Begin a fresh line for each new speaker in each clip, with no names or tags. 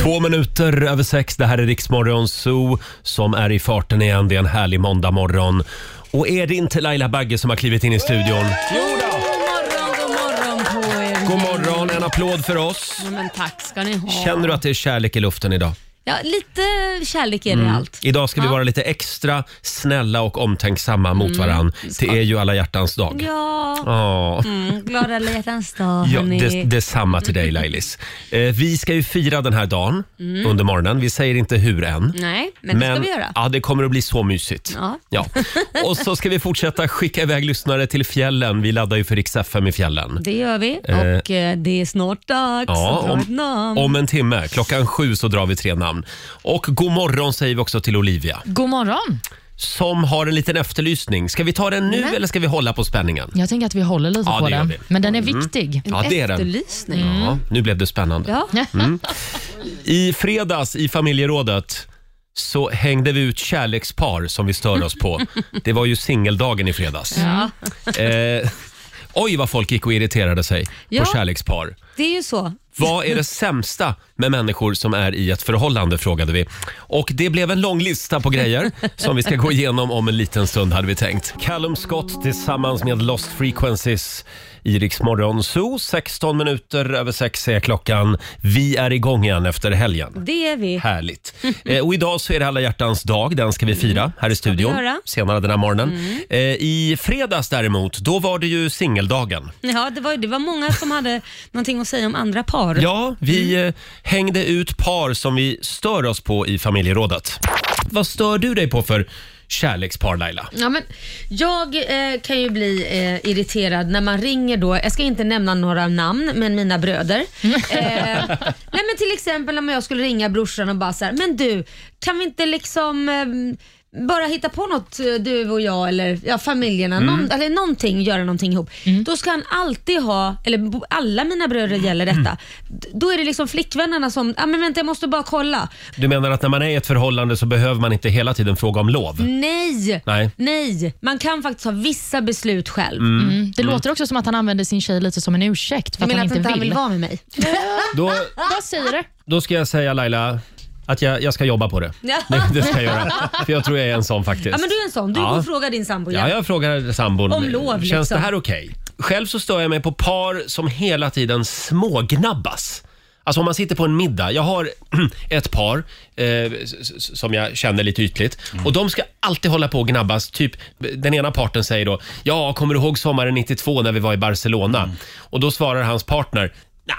Två minuter över sex, det här är Riksmorgon Zoo som är i farten igen. Det är en härlig måndagmorgon. Och är det inte Laila Bagge som har klivit in i studion?
God morgon, god morgon på er.
God morgon, en applåd för oss.
Ja, men tack ska ni ha.
Känner du att det är kärlek i luften idag?
Ja, lite kärlek är det i
Mm.
allt.
Idag ska vi
Ja. Mm.
vara lite extra snälla och omtänksamma mot varann. Det är ju alla hjärtans dag.
Ja,
Ja.
mm, glada alla hjärtans dag
Ja,
hörni.
det, det är samma till dig Lailis. Eh, vi ska ju fira den här dagen
Mm.
under morgonen. Vi säger inte hur än.
Nej, men det ska vi göra.
Ja, det kommer att bli så mysigt.
Ja.
Och så ska vi fortsätta skicka iväg lyssnare till fjällen. Vi laddar ju för Rix FM i fjällen.
Det gör vi och eh, det är snart dags
Ja,
att dra ett
om,
namn.
om en timme, klockan sju, så drar vi tre namn. Och god morgon säger vi också till Olivia,
God morgon!
som har en liten efterlysning. Ska vi ta den nu eller ska vi hålla på spänningen?
Jag tänker att vi håller lite
Ja,
på
det gör
den.
vi. Mm.
Men den är viktig.
Ja, det är den.
Efterlysning.
Ja, nu blev det spännande.
Ja.
Mm.
Mm. I fredags i familjerådet så hängde vi ut kärlekspar som vi stör oss på. Det var ju singeldagen i fredags.
Ja.
Eh, oj, vad folk gick och irriterade sig
Ja.
på kärlekspar.
det är ju så.
Vad är det sämsta med människor som är i ett förhållande? frågade vi. Och Det blev en lång lista på grejer som vi ska gå igenom om en liten stund. hade vi tänkt. Callum Scott tillsammans med Lost Frequencies i Rix Morgon Zoo. 16 minuter över sex är klockan. Vi är igång igen efter helgen.
Det är vi.
Härligt. Eh, och idag så är det alla hjärtans dag. Den ska vi fira här i studion
Mm. göra. Mm.
senare den här morgonen. Eh, I fredags däremot, då var det ju singeldagen.
Ja, det, var, det var många som hade någonting att säga om andra par.
Ja, vi
Mm.
eh, hängde ut par som vi stör oss på i familjerådet. Vad stör du dig på för kärlekspar Laila?
Ja, men
Jag eh, kan ju bli eh, irriterad när man ringer då, jag ska inte nämna några namn, men mina bröder. Eh, nej men till exempel om jag skulle ringa brorsan och bara så här, men du, kan vi inte liksom eh, bara hitta på något eh, du och jag eller ja, familjerna, någon, eller någonting, göra någonting ihop. Då ska han alltid ha, eller bo- alla mina bröder gäller detta, D- då är det liksom flickvännerna som, ah, men vänta jag måste bara kolla.
Du menar att när man är i ett förhållande så behöver man inte hela tiden fråga om
Mm.
lov?
Nej,
Nej.
nej, man kan faktiskt ta vissa beslut själv.
mm, det låter också som att han använder sin tjej lite som en ursäkt för
Du
att
menar
han
att
inte
inte
vill.
han vill vara med mig?
Då,
Vad säger du?
då ska jag säga Laila att jag, jag ska jobba på det.
Ja.
Det, det ska jag göra. För jag tror jag är en sån faktiskt.
Ja men du är en sån, du
Ja.
går och frågar din sambo
Ja,
ja.
jag frågar sambon.
Om lov,
Känns
liksom.
det här okej? Själv så stör jag mig på par som hela tiden smågnabbas. Alltså om man sitter på en middag. Jag har ett par eh, s- s- som jag känner lite ytligt. Och de ska alltid hålla på och gnabbas. Typ, den ena parten säger då “Ja, kommer du ihåg sommaren 92 när vi var i Barcelona?” Och då svarar hans partner “Nej,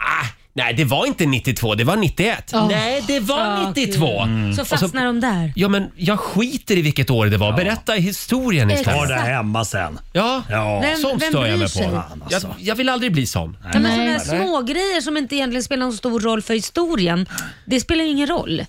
nej det var inte 92, det var 91.” “Nej, det var
Ah,
92.”
Så fastnar de där.
Ja, men jag skiter i vilket år det var. Berätta historien istället.
Ta det hemma sen.
Ja,
Ja.
Vem-
sånt
vem
stör jag
bryr
mig
sig?
på.
Fan,
Jag,
alltså.
jag vill aldrig bli sån.
Ja, men sådana här
Nej.
små grejer som inte egentligen spelar någon stor roll för historien, det spelar ju ingen roll.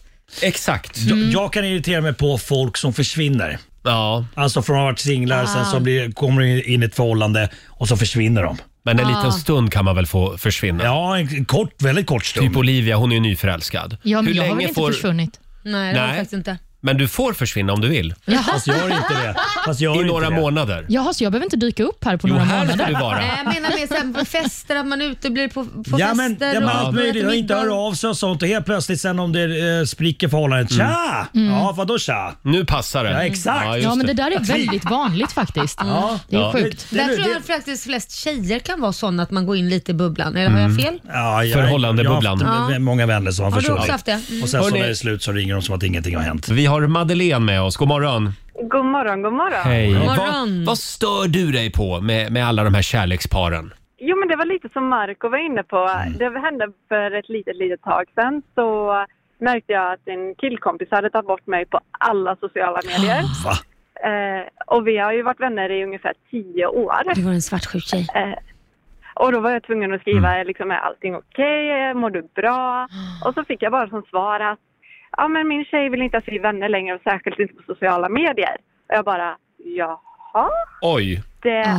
Exakt.
Jag, jag kan irritera mig på folk som försvinner.
Ja,
Alltså från att ha varit singlar, sen så blir, kommer de in i ett förhållande och så försvinner de.
men en liten stund kan man väl få försvinna.
Ja, en kort, väldigt kort stund.
Typ Olivia, hon är ju nyförälskad.
Ja, men jag har väl inte försvunnit?
Nej, det har
Nej.
jag faktiskt inte.
Men du får försvinna om du vill.
Fast gör inte det. Fast gör
I
inte
några
det.
månader.
Jaha, så jag behöver inte dyka upp här på
Jo,
några
här ska
månader?
du vara.
Nej, jag menar mer sen på fester, att man är ute och blir på, på
Ja men,
fester
ja, men
och
allt möjligt. Och inte höra av sig och sånt och helt plötsligt sen om det eh, spricker förhållandet. Tja! Ja, vadå tja?
Nu passar det.
Ja, exakt.
Ja,
Ja,
just
men det
det.
där är väldigt vanligt faktiskt. Mm.
Ja.
Det är
Ja.
sjukt.
Det- det-
Där tror jag
det-
faktiskt flest tjejer kan vara sådana att man går in lite i bubblan, eller har jag
Mm.
fel?
Ja, jag,
Förhållandebubblan.
Jag har haft många vänner som har
Har du också
försvunnit.
haft det? Mm.
Och sen så
Hörrni.
när det är slut så ringer de som att ingenting har hänt.
Vi har Madeleine med oss. God morgon.
God morgon, god morgon.
Hej.
morgon.
Vad, vad stör du dig på med, med alla de här kärleksparen?
Jo, men det var lite som Marco var inne på. Det hände för ett litet, litet tag sedan så märkte jag att en killkompis hade tagit bort mig på alla sociala medier.
Va?
Eh, och vi har ju varit vänner i ungefär tio år.
Du var en svartsjuk tjej.
Och då var jag tvungen att skriva, liksom, är allting okej? Mår du bra? Och så fick jag bara som svar att, ja men min tjej vill inte att vi är vänner längre och särskilt inte på sociala medier. Och jag bara, jaha?
Oj.
Det... eh,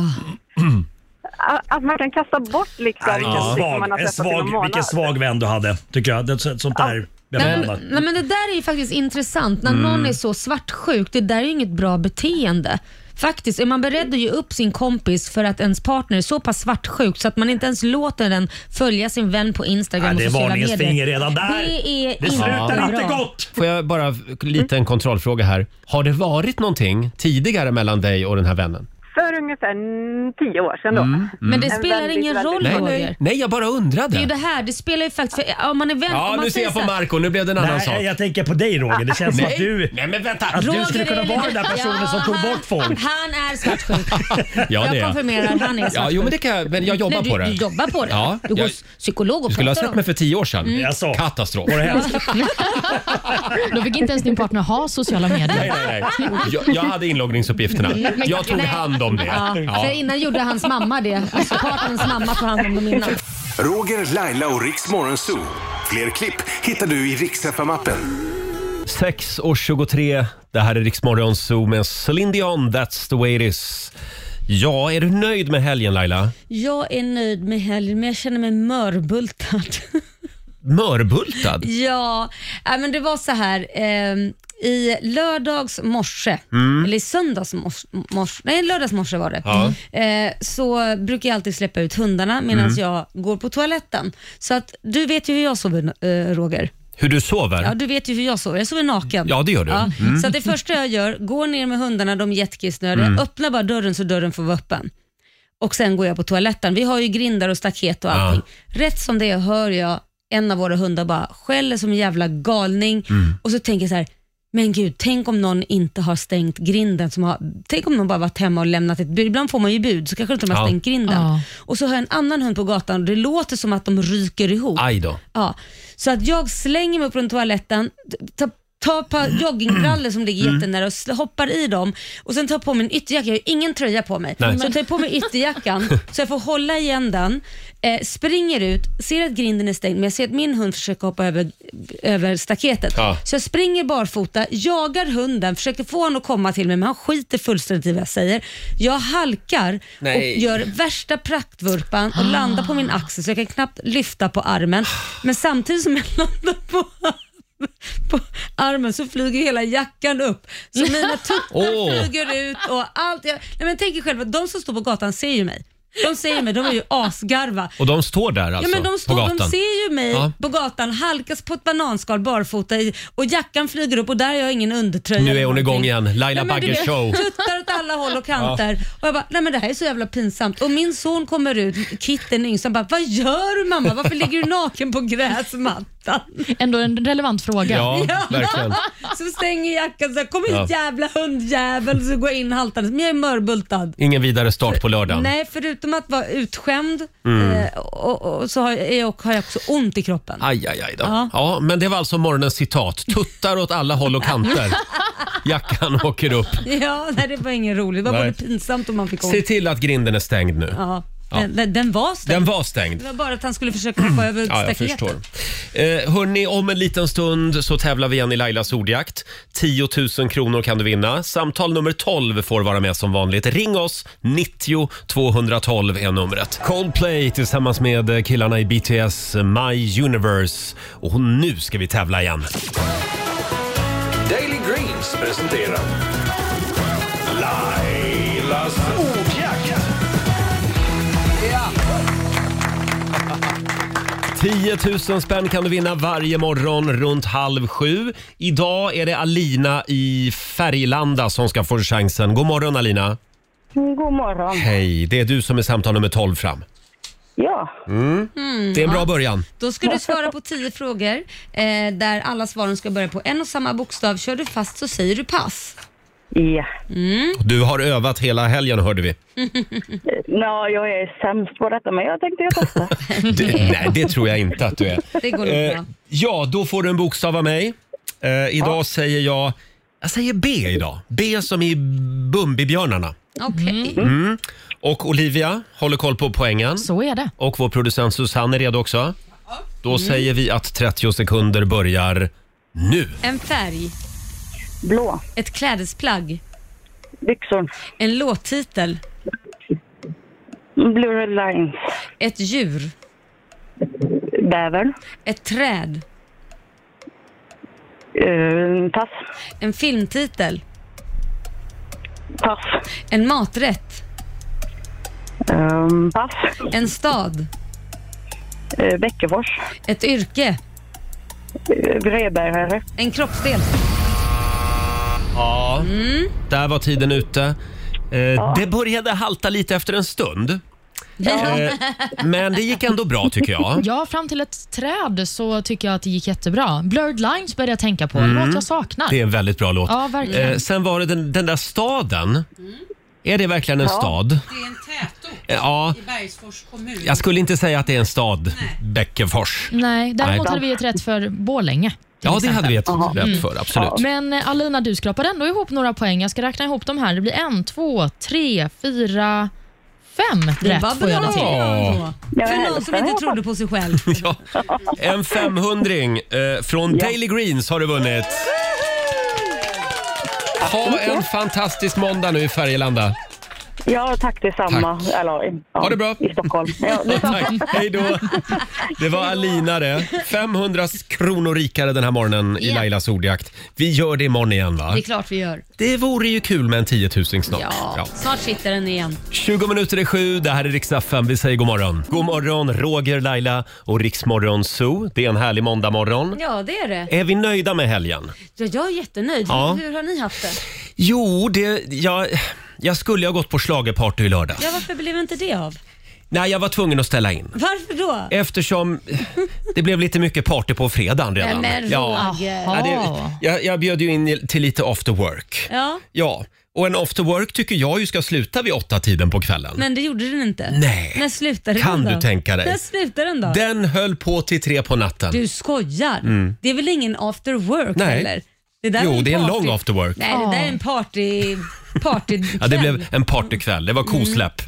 Att man kan kasta bort liksom
Ja, vilken,
någonting som man
svag,
har
en
träffat i någon
svag,
månad.
vilken svag vän du hade, tycker jag. Det, så- sånt där
Men,
bemötande.
nej, men det där är ju faktiskt intressant, när någon är så svartsjuk, det där är ju inget bra beteende. Faktiskt, är man beredd att ge upp sin kompis för att ens partner är så pass svartsjuk så att man inte ens låter den följa sin vän på Instagram
Ja,
och
det är
sociala
varningens
medier.
finger redan där.
Det är
Det
inte
slutar
bra.
inte gott!
Får jag bara lite en kontrollfråga här. Har det varit någonting tidigare mellan dig och den här vännen?
För ungefär mm, tio år sedan då. Mm.
Men det
En
spelar
väldigt,
ingen
väldigt
roll
Nej, nej,
Roger.
nej, jag bara
Det är ju det
undrade.
här, det spelar ju faktiskt... För, om man är vän, om
Ja,
man
nu ser
säger
jag på
så här-
Marco nu blev det en annan sak.
Nej, jag tänker på dig Roger. Det känns som att du...
Nej, men vänta.
Att du skulle
Roger
kunna
är
vara den där
lite-
personen som tog
han-
bort folk.
Han är svartsjuk.
Ja, det är
jag
jag.
konfirmerar, han är svartsjuk.
Ja, jo, men det kan jag, men jag jobbar
Nej, du,
på det.
Du jobbar på det?
Ja,
du går
jag-
psykolog och
Du skulle ha
pratar
sett
om
mig för tio år sedan.
Jag sa.
Katastrof.
Var det hemskt?
Då fick inte ens din partner ha sociala medier.
Nej, nej, nej. Jag, jag hade inloggningsuppgifterna. Jag tog hand om det.
Ja, För innan gjorde hans mamma det. Alltså partnerns mamma tog hand om dem innan.
Roger, Laila och Riks Morgonzoo. Fler klipp hittar du i Riks FM-appen.
6 och 23. Det här är Riksmorgon Zoo med Celine Dion, That's the way it is. Ja, är du nöjd med helgen Laila?
Jag är nöjd med helgen men jag känner mig mörbultad.
Mörbultad?
Ja, äh, men det var så här. ehm, I lördags morse, eller i söndags mors, mors, nej lördags morse var det,
Ja.
eh, så brukar jag alltid släppa ut hundarna medan jag går på toaletten. Så att du vet ju hur jag sover eh, Roger.
Hur du sover?
Ja, du vet ju hur jag sover. Jag sover naken.
Ja, det gör du. Mm.
Så att det första jag gör, går ner med hundarna, de är jättekissnödiga, öppnar bara dörren så dörren får vara öppen. Och sen går jag på toaletten. Vi har ju grindar och staket och allting. Rätt som det är hör jag en av våra hundar bara skäller som en jävla galning
Mm.
och så tänker jag så här, men gud, tänk om någon inte har stängt grinden. Som har, tänk om någon bara varit hemma och lämnat ett bud. Ibland får man ju bud, så kanske inte de har
Ja.
stängt grinden.
Ja.
Och så hör jag en annan hund på gatan och det låter som att de ryker ihop.
Aj då.
Ja, så att jag slänger mig upp från toaletten, tar ta ett par joggingbrallor som
Mm.
ligger jättenära och sl- hoppar i dem och sen tar jag på mig en ytterjacka. Jag har ju ingen tröja på mig.
Nej.
Så jag tar på mig ytterjackan så jag får hålla igen den, eh, springer ut, ser att grinden är stängd men jag ser att min hund försöker hoppa över, över staketet.
Ja.
Så jag springer barfota, jagar hunden, försöker få honom att komma till mig men han skiter fullständigt i vad jag säger. Jag halkar och
Nej.
gör värsta praktvurpan och landar på min axel så jag kan knappt lyfta på armen. Men samtidigt som jag landar på, på armen så flyger hela jackan upp. Så mina tuttar
Åh.
flyger ut och allt. Jag, nej men tänk er själva, de som står på gatan ser ju mig. De ser mig, de är ju asgarva.
Och de står där alltså,
Ja, men de,
på
står,
gatan?
de ser ju mig
Ja.
på gatan halkas på ett bananskal barfota i, och jackan flyger upp och där har jag ingen undertröja.
Nu är
eller
hon igång
någonting.
igen. Laila
Nej, men du
Bagges
vet,
show.
Tuttar åt alla håll och kanter. Och jag bara, nej men det här är så jävla pinsamt. Och min son kommer ut, Kitten yngst, han bara, vad gör du mamma? Varför ligger du naken på gräsmattan?
Ändå en relevant fråga.
Ja, verkligen.
Så stänger jackan så här, kom hit
Ja.
jävla hundjävel, så går jag in haltandes. Men jag är mörbultad.
Ingen vidare start på lördagen.
Nej, förutom att vara utskämd
Mm.
eh, och, och, så har jag, är jag- har jag också ont i kroppen.
Aj, aj, aj då. Ja.
Ja.
men det var alltså morgonens citat. Tuttar åt alla håll och kanter. Jackan åker upp.
Ja, nej, det var ingen roligt. Det var
Nej.
både pinsamt och man fick ont.
Se till att grinden är stängd nu.
Ja, den, den, den var stängd.
Den var stängd.
Det var bara att han skulle försöka hoppa över
Ja, jag
staketet.
förstår. Eh, hörni, om en liten stund så tävlar vi igen i Lailas ordjakt. 10 000 kronor kan du vinna. Samtal nummer 12 får vara med som vanligt. Ring oss, 90 212 är numret. Coldplay tillsammans med eh, killarna i BTS eh, My Universe. Och nu ska vi tävla igen.
Daily Greens presenterar Lailas ordjakt.
10 000 spänn kan du vinna varje morgon runt halv sju. Idag är det Alina i Färgelanda som ska få chansen. God morgon Alina!
God morgon.
Hej, det är du som är samtal nummer 12 fram.
Ja,
Det är en bra början.
Då ska du svara på 10 frågor eh, där alla svaren ska börja på en och samma bokstav. Kör du fast så säger du pass.
ja.
Du har övat hela helgen hörde vi.
Nå, jag är sämst på detta men jag tänkte jag testar.
Det,
Mm.
nej, det tror jag inte att du är.
Det går nog
Eh,
bra.
ja, då får du en bokstav av mig. Eh, idag säger jag... Jag säger B idag. B som i Bumbibjörnarna.
Okej.
mm. Och Olivia håller koll på poängen.
Så är det.
Och vår producent Susanne är redo också. Då
Mm.
säger vi att 30 sekunder börjar nu.
En färg,
Blå,
ett klädesplagg,
byxor,
en låttitel,
blue red lines,
ett djur,
bäver,
ett träd,
eh, tass,
en filmtitel,
pass, Pass.
En maträtt.
Ehm, pass.
En stad.
Uh, Bäckefors.
Ett yrke.
Uh, Bredbergare.
En kroppsdel.
Ja, där var tiden ute. Eh, Det började halta lite efter en stund. Eh, men det gick ändå bra tycker jag.
Ja, fram till ett träd så tycker jag att det gick jättebra. Blurred Lines började jag tänka på. Låt jag saknar.
Mm. Det är en väldigt bra låt.
Ja, verkligen.
Eh,
Mm.
sen var det den, den där staden. Är det verkligen en stad?
Det är en tätort
Eh, Ja,
i Bergsfors kommun.
jag skulle inte säga att det är en stad, Bäckefors.
Nej, däremot
Nej.
hade vi ett rätt för Borlänge. till
Ja, det
exempel.
hade vi ett
Mm.
rätt för, absolut.
Men eh, Alina, du skrapade ändå ihop några poäng. Jag ska räkna ihop dem här. Det blir en, två, tre, fyra, fem
Det var
rätt får jag det till.
Ja.
Ja. För någon som inte trodde på sig själv.
Ja. En 500 eh, från Daily Greens har du vunnit. Ha en fantastisk måndag nu i Färgelanda.
Ja, tack detsamma.
Tack.
Eller, ja,
Ha det bra.
I Stockholm. Ja, det-
Tack, hej då. Det var Alina det. 500 kronor rikare den här morgonen i
Ja.
Lailas ordjakt. Vi gör det imorgon igen va?
Det är klart vi gör.
Det vore ju kul med en 10 000 snart.
Ja.
Ja.
Snart sitter den igen.
20 minuter i sju, det här är Rix FM. Vi säger god morgon. God morgon Roger, Laila och Riksmorgon Zoo. Det är en härlig måndagmorgon.
Ja, det är det.
Är vi nöjda med helgen?
Ja, jag är jättenöjd.
Ja.
Hur har ni haft det?
Jo, det, jag, jag skulle ha gått på schlagerparty i lördags.
Ja, varför blev inte det av?
Nej, jag var tvungen att ställa in.
Varför då?
Eftersom det blev lite mycket party på fredagen redan.
Nej, men
ja.
Roger.
Ja, det,
Ja.
jag, jag bjöd ju in till lite after work.
Ja,
Ja, och en after work tycker jag ju ska sluta vid åtta tiden på kvällen.
men det gjorde den inte.
Nej.
När slutade
Kan
den då?
du tänka dig?
När slutade den då?
Den höll på till tre på natten.
Du skojar? Det är väl ingen after work
Mm. Nej.
heller? Det där
Jo,
var
det är en
party-
lång after work.
Nej, det där är en party... party
Ja, det blev en partykväll. Det var
Mm.
kosläpp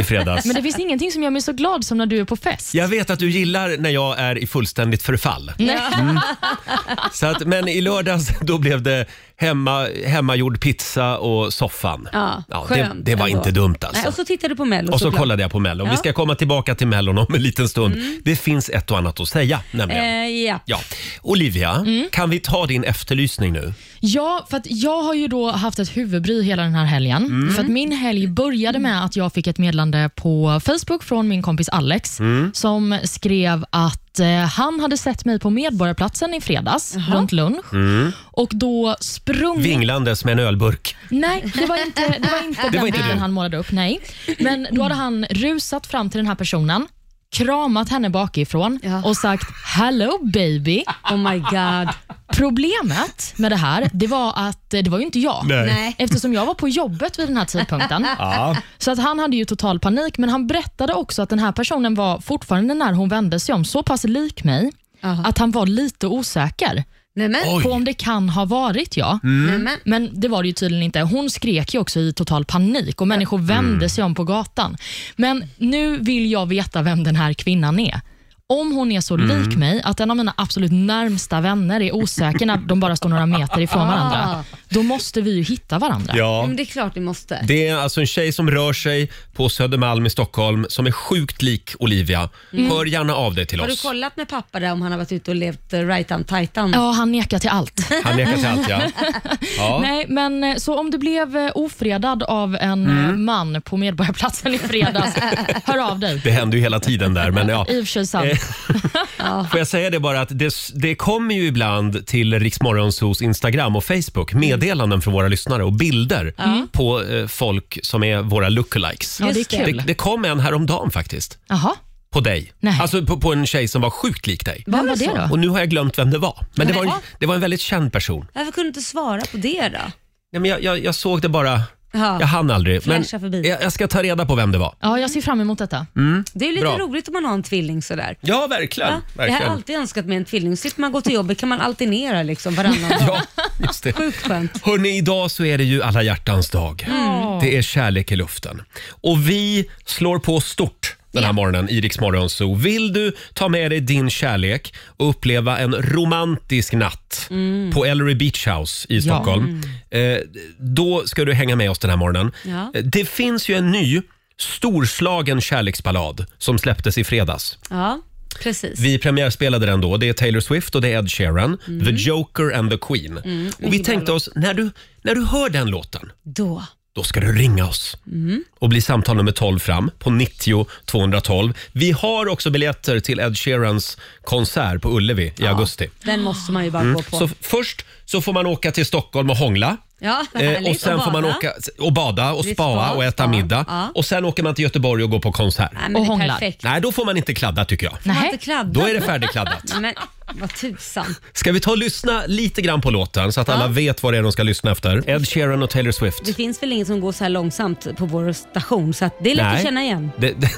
i fredags.
Men det finns ingenting som gör mig så glad som när du är på fest.
Jag vet att du gillar när jag är i fullständigt förfall. Mm. Så att, men i lördags då blev det hemma, hemmagjord pizza och soffan.
Ja,
det,
skönt
det var
ändå.
inte dumt
Nej, och
alltså.
så tittar du på Mello
Och så
såklart.
kollade jag på Mellon. Vi
Ja. Mm.
ska komma tillbaka till Mellon om en liten stund. Det finns ett och annat att säga nämligen.
Eh, Mm. ja.
Ja. Olivia, kan vi ta din efterlysning nu?
Ja, för att jag har ju då haft ett huvudbry hela den här helgen.
Mm.
För att min helg började med att jag fick ett meddelande på Facebook från min kompis Alex
Mm.
som skrev att eh, han hade sett mig på Medborgarplatsen i fredags runt lunch
Mm.
och då sprungit
Vinglandes med en ölburk.
Nej, det var inte, det var inte den
var inte
bilden
du.
han målade upp. Nej. Men då hade han rusat fram till den här personen, kramat henne bakifrån
Ja.
och sagt “Hello baby”.
Oh my god.
Problemet med det här det var att eh, det var ju inte jag.
Nej.
Eftersom jag var på jobbet vid den här tidpunkten. Så att han hade ju total panik, men han berättade också att den här personen var fortfarande när hon vände sig om så pass lik mig
Aha.
att han var lite osäker
Nej, men,
Oj.
på om det kan ha varit jag.
Mm.
nej, men.
Men det var det ju tydligen inte. Hon skrek ju också i total panik och människor
Mm.
vände sig om på gatan. Men nu vill jag veta vem den här kvinnan är. Om hon är så
Mm.
lik mig att en av mina absolut närmsta vänner är osäker när de bara står några meter ifrån
Ah.
varandra, då måste vi ju hitta varandra.
Ja.
men Mm, det är klart ni måste.
Det är alltså en tjej som rör sig på Södermalm i Stockholm som är sjukt lik Olivia.
Mm.
Hör gärna av dig till
Har du
oss.
kollat med pappa där om han har varit ute och levt eh, right on titan?
Ja, han nekar till allt.
Han nekar till allt ja. ja.
Nej, men eh, så om du blev eh, ofredad av en eh,
Mm.
man på Medborgarplatsen i fredags, hör av dig.
Det händer ju hela tiden där men ja.
I och för sig
Eh,
sant.
Får jag säga det bara att det, det kommer ju ibland till Riksmorgonsos Instagram och Facebook meddelanden från våra lyssnare och bilder
Mm.
på eh, folk som är våra lookalikes.
Ja, det är
Just det.
Det,
kul.
det kom en häromdagen faktiskt.
Jaha,
På dig.
Nej.
Alltså på, på en tjej som var sjukt lik dig.
vem var det då?
Och nu har jag glömt vem det var. Men det var en, det var en väldigt känd person.
Varför kunde du inte svara på det då?
Nej, men jag, jag, jag såg det bara
Ja.
Jag hann aldrig. Men
Flasha förbi.
jag, jag ska ta reda på vem det var.
Ja, jag ser fram emot detta.
Mm.
Det är ju lite
Bra.
roligt om man har en tvilling sådär.
Ja, verkligen.
Ja, jag har alltid önskat mig en tvilling. Slipper man gå till jobbet kan man alternera liksom varannan dag.
Ja, just det.
Sjukt skönt.
Hörrni, idag så är det ju alla hjärtans dag.
Ja.
Det är kärlek i luften. Och vi slår på stort den här morgonen i Rix Morgon Zoo. Vill du ta med dig din kärlek och uppleva en romantisk natt på Ellery Beach House i Stockholm, eh, då ska du hänga med oss den här morgonen.
Ja.
Eh, Det finns ju en ny storslagen kärleksballad som släpptes i fredags.
Ja, precis.
Vi premiärspelade den då. Det är Taylor Swift och det är Ed Sheeran,
Mm.
The Joker and the Queen. och vi tänkte oss, när du, när du hör den låten,
Då
då ska du ringa oss
Mm.
och bli samtal nummer 12 fram på 90 212. Vi har också biljetter till Ed Sheerans konsert på Ullevi i augusti. Mm.
Den måste man ju bara gå på.
Så först så får man åka till Stockholm och hångla.
Ja, vad
Eh,
härligt.
och sen
Och
får man
bada.
åka och bada och
Det är
spaa
spa,
och äta
spa.
middag.
Ja.
Och sen åker man till Göteborg och går på konsert.
Nej, men
Och
det är
hånglar.
Perfekt.
Nej, då får man inte kladda tycker jag.
Man har
Nej.
inte kladdat.
Då är det färdigkladdat.
Men vad tusan.
Ska vi ta och lyssna lite grann på låten så att alla vet vad det är de ska lyssna efter? Ed Sheeran och Taylor Swift.
Det finns väl ingen som går så här långsamt på vår station så att det är lätt att känna igen.
Det, det.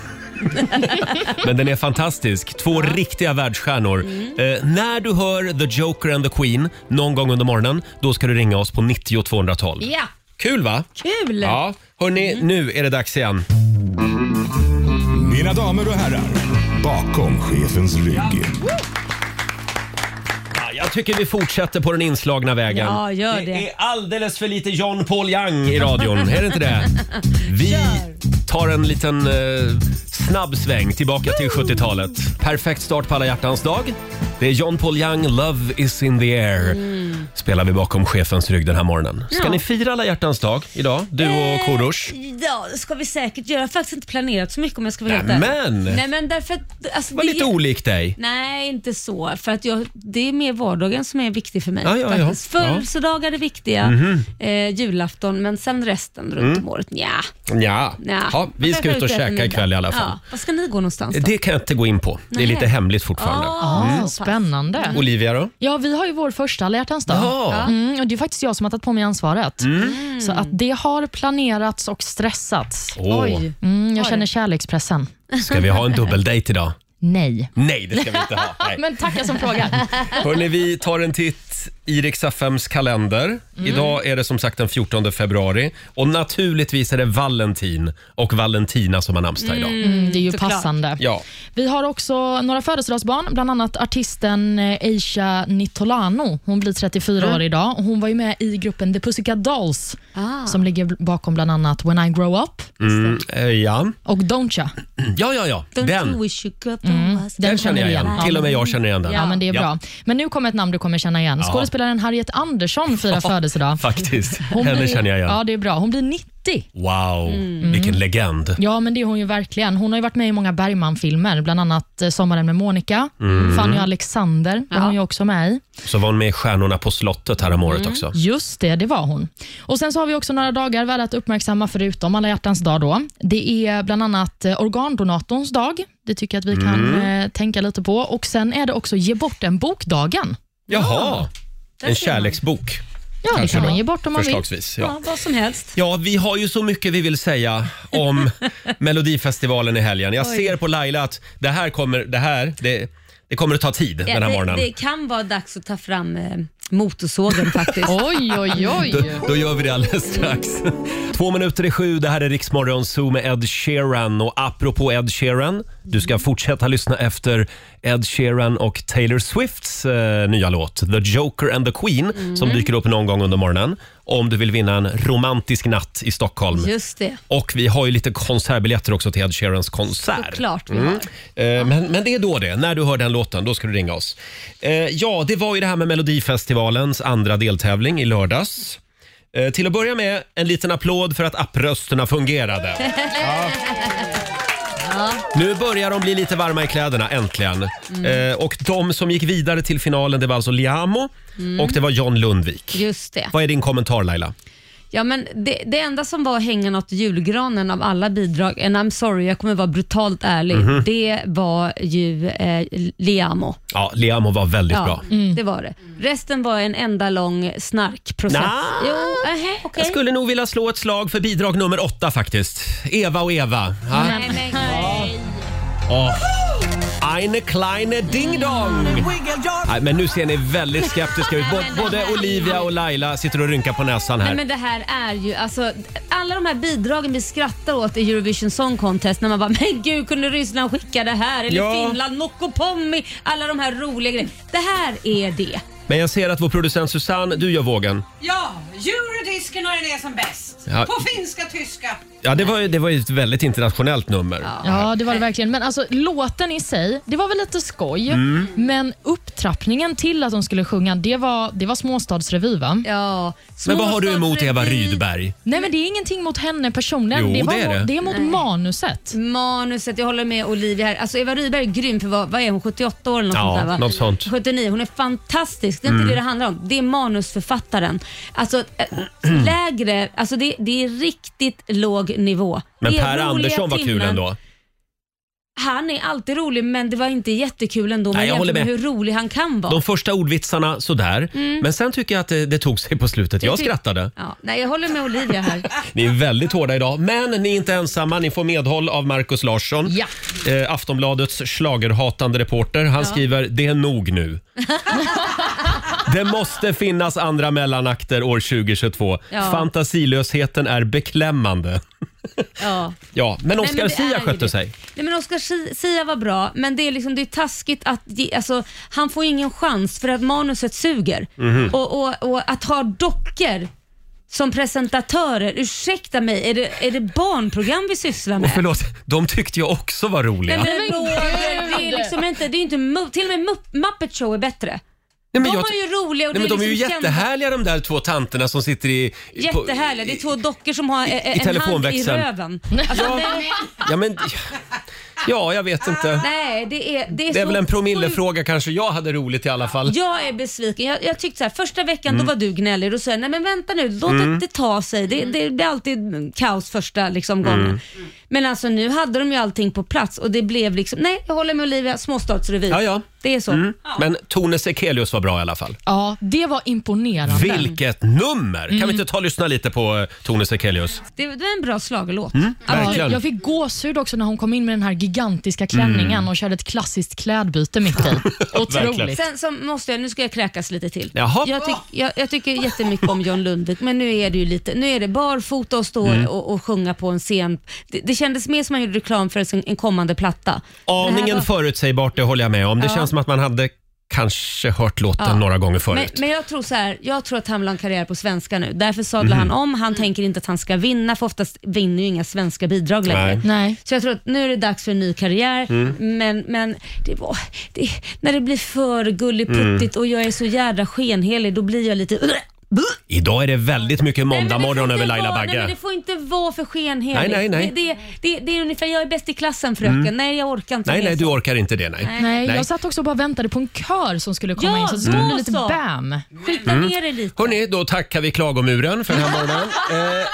Men den är fantastisk. Två riktiga världsstjärnor.
Mm.
Eh, när du hör The Joker and the Queen någon gång under morgonen, då ska du ringa oss på 90 212.
Ja,
Kul va?
kul! Mm.
Ja, hörni, nu är det dags igen.
Mina damer och herrar, bakom chefens rygg.
Ja, jag tycker vi fortsätter på den inslagna vägen.
Ja, gör
det
det.
är alldeles för lite John Paul Young i radion, är det inte det? Vi tar en liten eh, snabb sväng tillbaka till 70-talet. Perfekt start på alla hjärtans dag. Det är John Paul Young, Love is in the air. Spelar vi bakom chefens rygg den här morgonen. Ska
Mm. Ja. Eh,
ni fira alla hjärtans dag idag, du och Korosh?
Ja, det ska vi säkert göra. Jag har faktiskt inte planerat så mycket om jag ska vara helt ärlig.
Nämen!
Nej men därför att... Alltså,
Det var lite olik dig.
Nej, inte så. För att jag, det är mer vardagen som är viktig för mig.
Ja, ja, ja.
faktiskt.
Ja. Mhm.
Födelsedagar är viktiga, eh, julafton, men sen resten runt om året, nja.
Ja.
nja.
Mm. ja, vi
Man
ska
kanske
ut och
äter middag.
käka ikväll i alla fall.
Ja. Var ska ni gå någonstans då?
Det kan jag inte gå in på. Det är
Nej.
lite hemligt fortfarande.
Ah, så pass.
Spännande.
Olivia då?
Ja, vi har ju vår första alla hjärtans dag.
Mm. Ja.
Mm, och det är faktiskt jag som har tagit på mig ansvaret. Så att det har planerats och stressats.
Åh,
Mm, jag känner kärlekspressen.
Ska vi ha en dubbeldejt idag?
Nej.
Nej, det ska vi inte ha. Nej.
Men tacka som frågar.
Hörrni, vi tar en titt i Rix FMs kalender.
Mm.
Idag är det som sagt den 14 februari och naturligtvis är det Valentin och Valentina som har namnsdag idag.
Mm, det är ju
Såklart.
passande.
Ja.
Vi har också några födelsedagsbarn, bland annat artisten eh, Aisha Nittolano. Hon blir 34 år idag. och Hon var ju med i gruppen The Pussycat Dolls
Ah.
som ligger bakom bland annat When I Grow Up
Mm, eh, ja.
och Don't Ya.
ja, ja, ja.
Don't you
Den,
wish you could mm.
den känner jag igen. Till och med jag känner igen den.
Ja, men det är bra. Men nu kommer ett namn du kommer känna igen. Skådespelaren Harriet Andersson firar födelsedag.
Faktiskt. Henne
blir-
känner jag igen.
Ja, Mm. det är bra. Hon blir 90.
Wow, vilken legend.
Ja, men det är hon ju verkligen. Hon har ju varit med i många Bergman-filmer, bland annat eh, Sommaren med Monica,
Mm.
Fanny och Alexander var hon ju också med i.
Så var hon med i Stjärnorna på slottet här om
Mm.
året också.
Just det, det var hon. Och Sen så har vi också några dagar värda att uppmärksamma förutom alla hjärtans dag. Då. Det är bland annat eh, organdonatorns dag. Det tycker jag att vi kan
Mm.
eh, tänka lite på. Och Sen är det också ge bort en bokdagen.
Jaha, en
ser man.
kärleksbok
Ja, det
Kanske
kan man
då.
ge bort om man vill.
förslagsvis. Ja.
Ja, vad som helst.
Ja, vi har ju så mycket vi vill säga om Melodifestivalen i helgen. Jag ser på Laila att det här kommer, det här, det, det kommer att ta tid den här
det,
morgonen.
det kan vara dags att ta fram eh, motorsågen faktiskt.
Oj, oj, oj.
Då gör vi det alldeles strax. Två minuter i sju, det här är Riksmorgon Zoo med Ed Sheeran. Och apropå Ed Sheeran, du ska fortsätta lyssna efter Ed Sheeran och Taylor Swifts eh, nya låt The Joker and the Queen som
Mm.
dyker upp någon gång under morgonen om du vill vinna en romantisk natt i Stockholm.
Just det,
Och vi har ju lite konsertbiljetter också till Ed Sheerans konsert.
såklart vi har.
Eh, Men, men det är då det. När du hör den låten, då ska du ringa oss. Eh, Ja, det var ju det här med Melodifestivalens andra deltävling i lördags. Eh, Till att börja med, en liten applåd för att apprösterna fungerade. Nu börjar de bli lite varma i kläderna, äntligen. Eh, Och de som gick vidare till finalen, det var alltså Liamo och det var John Lundvik.
Just det.
Vad är din kommentar Laila?
Ja, men det, det enda som var hängande åt julgranen av alla bidrag, and I'm sorry, jag kommer vara brutalt ärlig,
Mhm.
det var ju eh, Liamo.
Ja, Liamo var väldigt bra. Mm.
det var det. Resten var en enda lång snarkprocess.
Nja.
Jo, aha, okej.
Jag skulle nog vilja slå ett slag för bidrag nummer åtta faktiskt. Eva och Eva. Ja.
Nej, men,
Ja. Eine kleine ding dong. Nej, men nu ser ni väldigt skeptiska ut. Bå- Både Olivia och Laila sitter och rynkar på näsan
Nej,
här.
men det här är ju, alltså, alla de här bidragen vi skrattar åt i Eurovision Song Contest när man bara “men gud, kunde Ryssland skicka det här?” eller
Ja.
“Finland, Mokopommi”, alla de här roliga grejerna. Det här är det.
Men jag ser att vår producent Susanne, du gör vågen.
Ja, eurodisken har den är som bäst.
Ja.
På finska, tyska,
Ja, det var ju, det var ju ett väldigt internationellt nummer.
Ja, det var det verkligen. Men alltså, låten i sig, det var väl lite skoj. Men upptrappningen till att de skulle sjunga, det var, det var småstadsrevy va?
Ja.
Men vad har du emot Eva
Småstadsrevy,
Rydberg?
Nej, men det är ingenting mot henne personligen.
Jo,
det, var,
det är det.
det är mot manuset.
Manuset, jag håller med Olivia här. Alltså Eva Rydberg är grym för vad, vad är hon, 78 år eller något
Ja,
sånt där va?
något sånt. Mm.
79, hon är fantastisk. Det är inte det det handlar om. Det är manusförfattaren. Alltså äh, lägre, alltså det, det är riktigt låg nivå.
Men
det är
Per
roliga
Andersson var kul
timmen.
ändå.
Han är alltid rolig men det var inte jättekul ändå.
Nej,
Men
jag
jämfört
håller
med
med.
hur rolig han kan vara.
De första ordvitsarna sådär,
Mm.
men sen tycker jag att det, det tog sig på slutet. Jag
tyck-
skrattade.
Ja, nej, jag håller med Olivia här.
Ni är väldigt hårda idag, men ni är inte ensamma. Ni får medhåll av Markus Larsson,
Ja.
eh, Aftonbladets schlagerhatande reporter. Han skriver “Det är nog nu”. Det måste finnas andra mellanakter år 2022.
Ja.
Fantasilösheten är beklämmande.
Ja.
Ja, men
Nej,
Oscar
men det är
Sia
ju
skötte
det.
sig.
Nej, men Oscar Si- Sia var bra, men det är, liksom, det är taskigt att ge, alltså, han får ingen chans för att manuset suger.
Mhm.
Och, och, och att ha dockor som presentatörer, ursäkta mig, är det, är det barnprogram vi sysslar
Och
med?
förlåt, de tyckte jag också var roliga.
Nej,
Nej,
men Roger, det är liksom inte, det är inte, mu- till och med Mupp- Muppet Show är bättre.
men
de
jag-
var ju roliga och
Nej, men
det
de är ju
liksom kända-
jättehärliga de där två tanterna som sitter i... i- på-
Jättehärliga. Det är två dockor som har eh, eh, en hand i
telefonväxeln.
röven. Alltså, nej,
Ja, men... Ja, jag vet inte.
nej, det är, det är,
Det är
så
väl en
sjukt
promillefråga kanske. Jag hade roligt i alla fall.
Jag är besviken. Jag, jag tyckte så här, första veckan
Mm.
då var du gnällig och sa jag, nej men vänta nu, låt det inte ta sig. Det, det blir alltid kaos första liksom,
Mm.
gången. Men alltså nu hade de ju allting på plats och det blev liksom, nej jag håller med Olivia, småstadsrevy.
Ja, Mm. ja.
Det är så.
Men Tone Sekelius var bra i alla fall.
Ja, det var imponerande.
Vilket nummer!
Mm.
Kan vi inte ta och lyssna lite på eh, Tone Sekelius?
Det, det var en bra
Mm.
slagelåt.
Ja,
Verkligen.
Alltså, jag fick gåshud också när hon kom in med den här gigantiska klänningen och körde ett klassiskt klädbyte mitt i. Otroligt.
Sen så måste jag, nu ska jag kräkas lite till.
Jaha.
Jag, tyck, jag, jag tycker jättemycket om John Lundvik, men nu är det ju lite, nu är det barfota och stå
Mm.
och, och sjunga på en scen. Det, det kändes mer som att man gjorde reklam för en, en kommande platta. Det här
Aningen
var-
förutsägbart, det håller jag med om. Det känns som att man hade kanske hört låten
Ja.
några gånger
Men,
förut.
men jag tror så här, jag tror att han vill ha en karriär på svenska nu. Därför sadlar
Mhm.
han om. Han tänker inte att han ska vinna, för oftast vinner ju inga svenska bidrag längre.
Nej. Mm.
Nej.
Så jag tror att nu är det dags för en ny karriär, men, men det var, det, när det blir för
Mm.
gulligputtigt och jag är så jädra skenhelig, då blir jag lite...
Idag är det väldigt mycket
Nej, men
måndag
det får
morgon
inte
över Laila
vara- Nej, men
Bagge.
det får inte vara för skenheligt.
Nej, nej, nej.
Det, det, det, det är ungefär, jag är bäst i klassen fröken. Nej, jag orkar inte
Nej,
mer
nej, du
så.
orkar inte det. Nej.
Nej,
Nej.
jag satt också och bara väntade på en kör som skulle komma
Ja,
in, så det skulle
då
bli lite
så.
bam.
Skjuta
Mm.
ner dig lite.
Hörni, då tackar vi klagomuren för den här morgonen. Eh,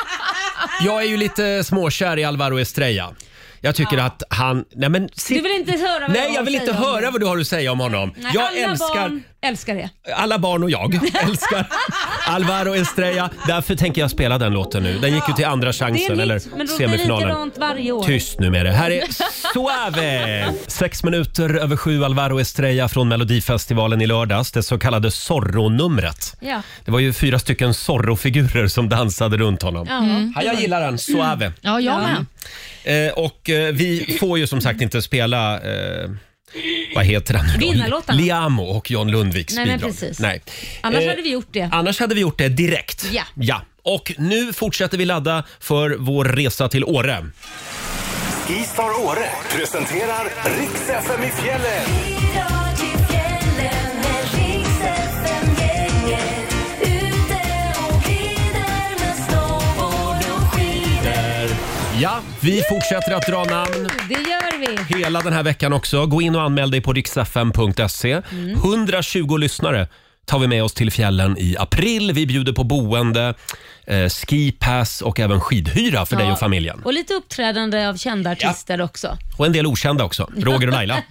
jag är ju lite småkär i Alvaro Estrella. Jag tycker att han... Nej, men sit-
Du vill inte höra vad
Nej,
har
jag vill
att
inte
säga om
höra
det.
vad du har att säga om honom.
Nej,
jag
alla
älskar...
barn älskar det.
Alla barn och jag älskar Alvaro Estrella. Därför tänker jag spela den låten nu. Den gick ju till andra
Det är
chansen
en
eller
hit, men då blir det
semifinalen.
likadant varje år.
Tyst nu med det. Här är Suave! Sex minuter över sju, Alvaro Estrella från Melodifestivalen i lördags. Det så kallade Zorro-numret.
Ja.
Det var ju fyra stycken Zorro-figurer som dansade runt honom.
Ja. Mm.
Ja, jag gillar den, Suave.
Ja, jag med.
Eh, och eh, vi får ju som sagt inte spela eh, vad heter han nu då?
Vinnarlåtarna.
Liamo och John Lundviks
Nej, men
bidrag.
precis.
Nej.
Annars
Eh,
hade vi gjort det.
Annars hade vi gjort det direkt.
Ja.
ja. Och nu fortsätter vi ladda för vår resa till Åre.
Skistar Åre presenterar Riks FM i fjällen.
Ja, vi fortsätter att dra namn.
Det gör vi.
Hela den här veckan också. Gå in och anmäl dig på riksfm.se.
Mm.
120 lyssnare tar vi med oss till fjällen i april. Vi bjuder på boende, eh, skipass och även skidhyra för dig och familjen.
Och lite uppträdande av kända artister också.
Och en del okända också. Roger och Laila.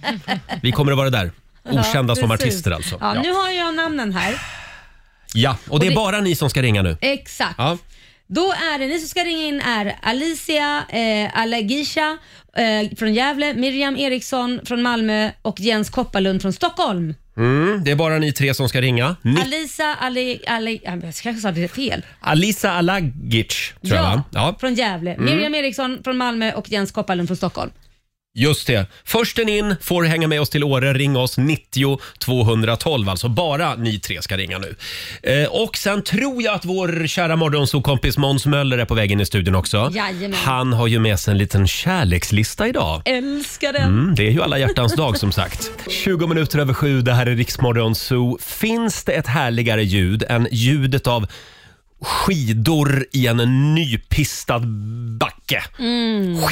Vi kommer att vara där. Okända
Ja,
som
precis.
artister alltså.
Ja,
Ja.
Nu har jag namnen här.
ja, och det är
det-
bara ni som ska ringa nu.
Exakt.
Ja.
Då är det, ni som ska ringa in är Alicia, eh, Alagisha eh, från Gävle, Miriam Eriksson från Malmö och Jens Kopparlund från Stockholm.
Mm, det är bara ni tre som ska ringa. Ni-
Alisa, Ali, Ali, jag kanske sa det fel.
Alisa Alagic, tror jag va? Mm.
från Gävle. Miriam Eriksson från Malmö och Jens Kopparlund från Stockholm.
Just det. Försten in får hänga med oss till Åre. Ring oss 90 212. Alltså bara ni tre ska ringa nu. Eh, och sen tror jag att vår kära morgonsokompis Måns Möller är på väg in i studion också.
Jajamän.
Han har ju med sig en liten kärlekslista idag.
Älskar den.
Mm, det är ju alla hjärtans dag som sagt. 20 minuter över sju, det här är Riksmorgon Zoo. Finns det ett härligare ljud än ljudet av skidor i en nypistad backe? Ja,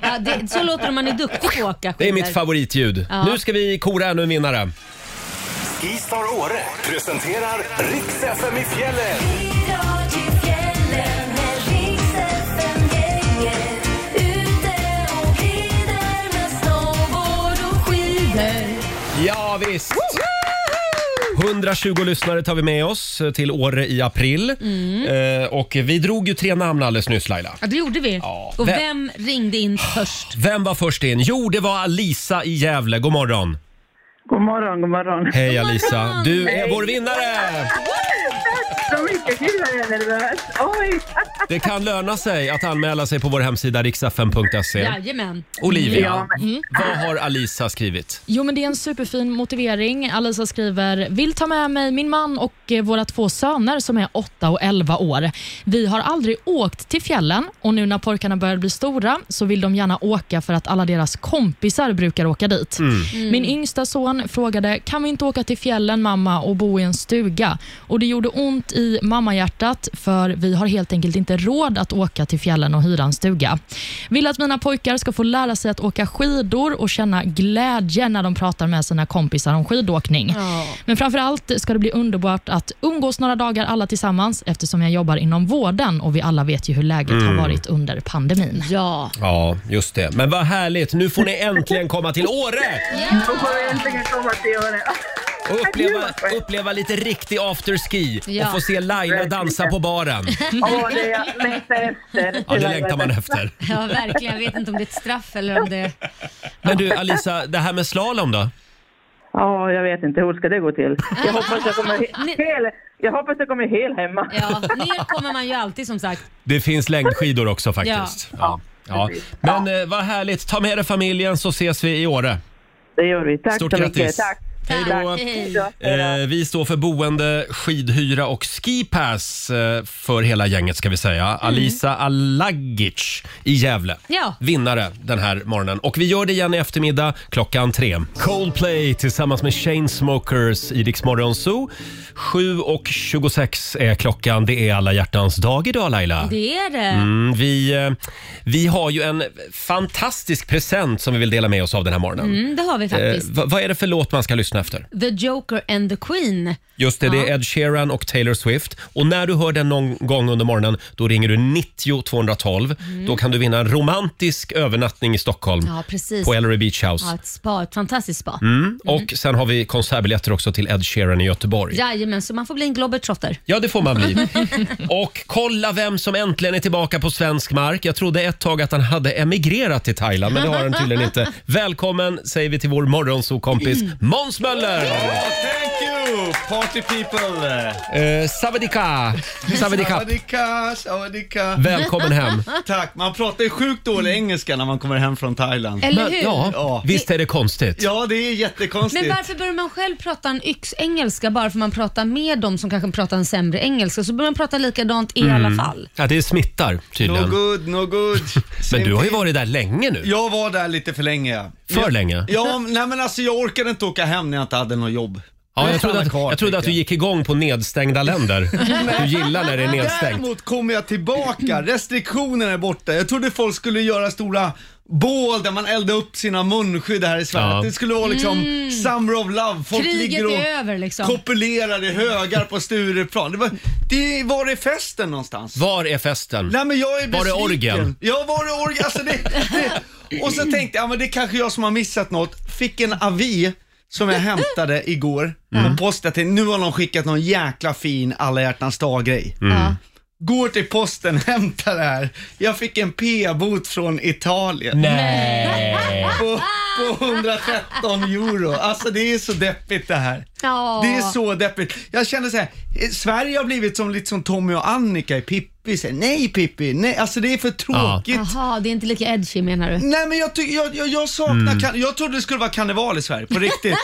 Ja, det, så låter det om man är duktig på att åka
det är
skidor.
mitt favoritljud.
Ja.
Nu ska vi kora ännu en vinnare.
Skistar Åre presenterar Riks FM i fjällen.
Ja, visst. 120 lyssnare tar vi med oss till Åre i april. Eh, och vi drog ju tre namn alldeles nyss Laila.
Ja, det gjorde vi.
Ja,
Och
vem-
vem ringde in först?
Vem var först in? Jo, det var Alisa i Gävle. God morgon.
God morgon, god morgon.
Hej Alisa, du är vår vinnare!
Så mycket kul jag är nervös. Oj!
Det kan löna sig att anmäla sig på vår hemsida riksfm.se.
Jajamän.
Olivia, vad har Alisa skrivit?
Jo, men det är en superfin motivering. Alisa skriver, vill ta med mig min man och eh, våra två söner som är 8 och 11 år. Vi har aldrig åkt till fjällen och nu när pojkarna börjar bli stora så vill de gärna åka för att alla deras kompisar brukar åka dit. Mm. Min yngsta son frågade, kan vi inte åka till fjällen mamma och bo i en stuga? Och det gjorde ont i mammahjärtat för vi har helt enkelt inte råd att åka till fjällen och hyra en stuga. Vill att mina pojkar ska få lära sig att åka skidor och känna glädje när de pratar med sina kompisar om skidåkning. Men framför allt ska det bli underbart att umgås några dagar alla tillsammans eftersom jag jobbar inom vården och vi alla vet ju hur läget har varit under pandemin.
Ja.
Ja, just det. Men vad härligt, nu får ni äntligen komma till Åre
Nu får vi äntligen komma till Åre.
och uppleva, uppleva lite riktig afterski
Ja.
och få se Laila dansa på baren.
Åh, det jag längtar efter.
Ja, det längtar man efter.
ja, verkligen. Jag vet inte om det är ett straff eller om det...
Men du Alisa, det här med slalom då?
Ja, jag vet inte. Hur ska det gå till? Jag hoppas jag kommer
Ni-
he- hel, jag hoppas jag kommer hel hemma.
Ja, ner kommer man ju alltid som sagt.
Det finns längdskidor också faktiskt. Ja. Ja. Men eh, vad härligt, ta med dig familjen så ses vi i Åre.
Det gör vi. Tack
Stort
så
grattis.
mycket. Tack.
Hej då.
Hej.
Eh, vi står för boende, skidhyra och skipass eh, för hela gänget ska vi säga. Alisa Alagic i Gävle.
Mm. Ja.
Vinnare den här morgonen. Och vi gör det igen i eftermiddag klockan tre. Coldplay tillsammans med Chainsmokers i Rix Morgon Zoo. 7.26 är klockan. Det är alla hjärtans dag idag Laila.
Det är det.
Mm, vi, eh, vi har ju en fantastisk present som vi vill dela med oss av den här morgonen.
Mm, det har vi
Eh,
faktiskt.
vad- vad är det för låt man ska lyssna efter?
The Joker and the Queen.
Just det, det är Ed Sheeran och Taylor Swift. Och när du hör den någon gång under morgonen, då ringer du 90 212. Då kan du vinna en romantisk övernattning i Stockholm
Ja, precis.
på Mm. Ellery Beach House.
Ja, ett spa, ett fantastiskt spa.
Och sen har vi konsertbiljetter också till Ed Sheeran i Göteborg. Ja.
Jajamän, så man får bli en globetrotter.
det får man bli. Och kolla vem som äntligen är tillbaka på svensk mark. Jag trodde ett tag att han hade emigrerat till Thailand, men det har han tydligen inte. Välkommen säger vi till vår morgonsokompis Måns Möller!
Thank you, party people!
Eh, savadika! Savadika!
Sawadika, sawadika.
Välkommen hem!
Tack, man pratar ju sjukt dålig engelska när man kommer hem från Thailand.
Eller
Men,
hur?
ja,
Ja.
visst är det konstigt?
Ja, det är jättekonstigt.
Men varför börjar man själv prata en yx-engelska bara för man pratar med dem som kanske pratar en sämre engelska? Så börjar man prata likadant i alla fall.
Ja, det smittar
No
tydligen.
good, no good.
Men
Same
du har ju
thing.
varit där länge nu.
Jag var där lite för länge. ja.
För
Jag-
länge?
Ja, nej men alltså jag orkade inte åka hem när jag inte hade något jobb.
Ja, jag
stannade
trodde att,
kvar,
jag trodde att du
tycker
gick igång på nedstängda länder. Du gillar när det är nedstängt.
Däremot kommer jag tillbaka, restriktionerna är borta. Jag trodde folk skulle göra stora bål där man eldar upp sina munskydd här i Sverige.
Ja.
Att Det skulle vara liksom summer of love. Folk
Kriget
ligger och
är över liksom.
kopulerar i högar på Stureplan. Det var, det, var är festen någonstans?
Var är festen?
Nej men jag är
Var det
besviken.
orgeln?
Ja, var det orgeln? Alltså det, det. Och så tänkte jag, ja, men det är kanske jag som har missat något. Fick en avi som jag hämtade igår och postade till, nu har någon skickat någon jäkla fin alla hjärtans dag-grej.
Ja.
Går till posten, hämtar det här. Jag fick en p-bot från Italien.
Nej.
På, på 113 euro. Alltså det är så deppigt det här.
Ja.
Det är så deppigt. Jag känner så här, eh, Sverige har blivit som lite som Tommy och Annika i Pippi. Så här, nej Pippi, nej. Alltså det är för tråkigt.
Jaha, det är inte lika edgy menar du?
Nej men jag, tycker, jag, jag, jag saknar,
Mm.
kan, jag trodde det skulle vara karneval i Sverige, på riktigt.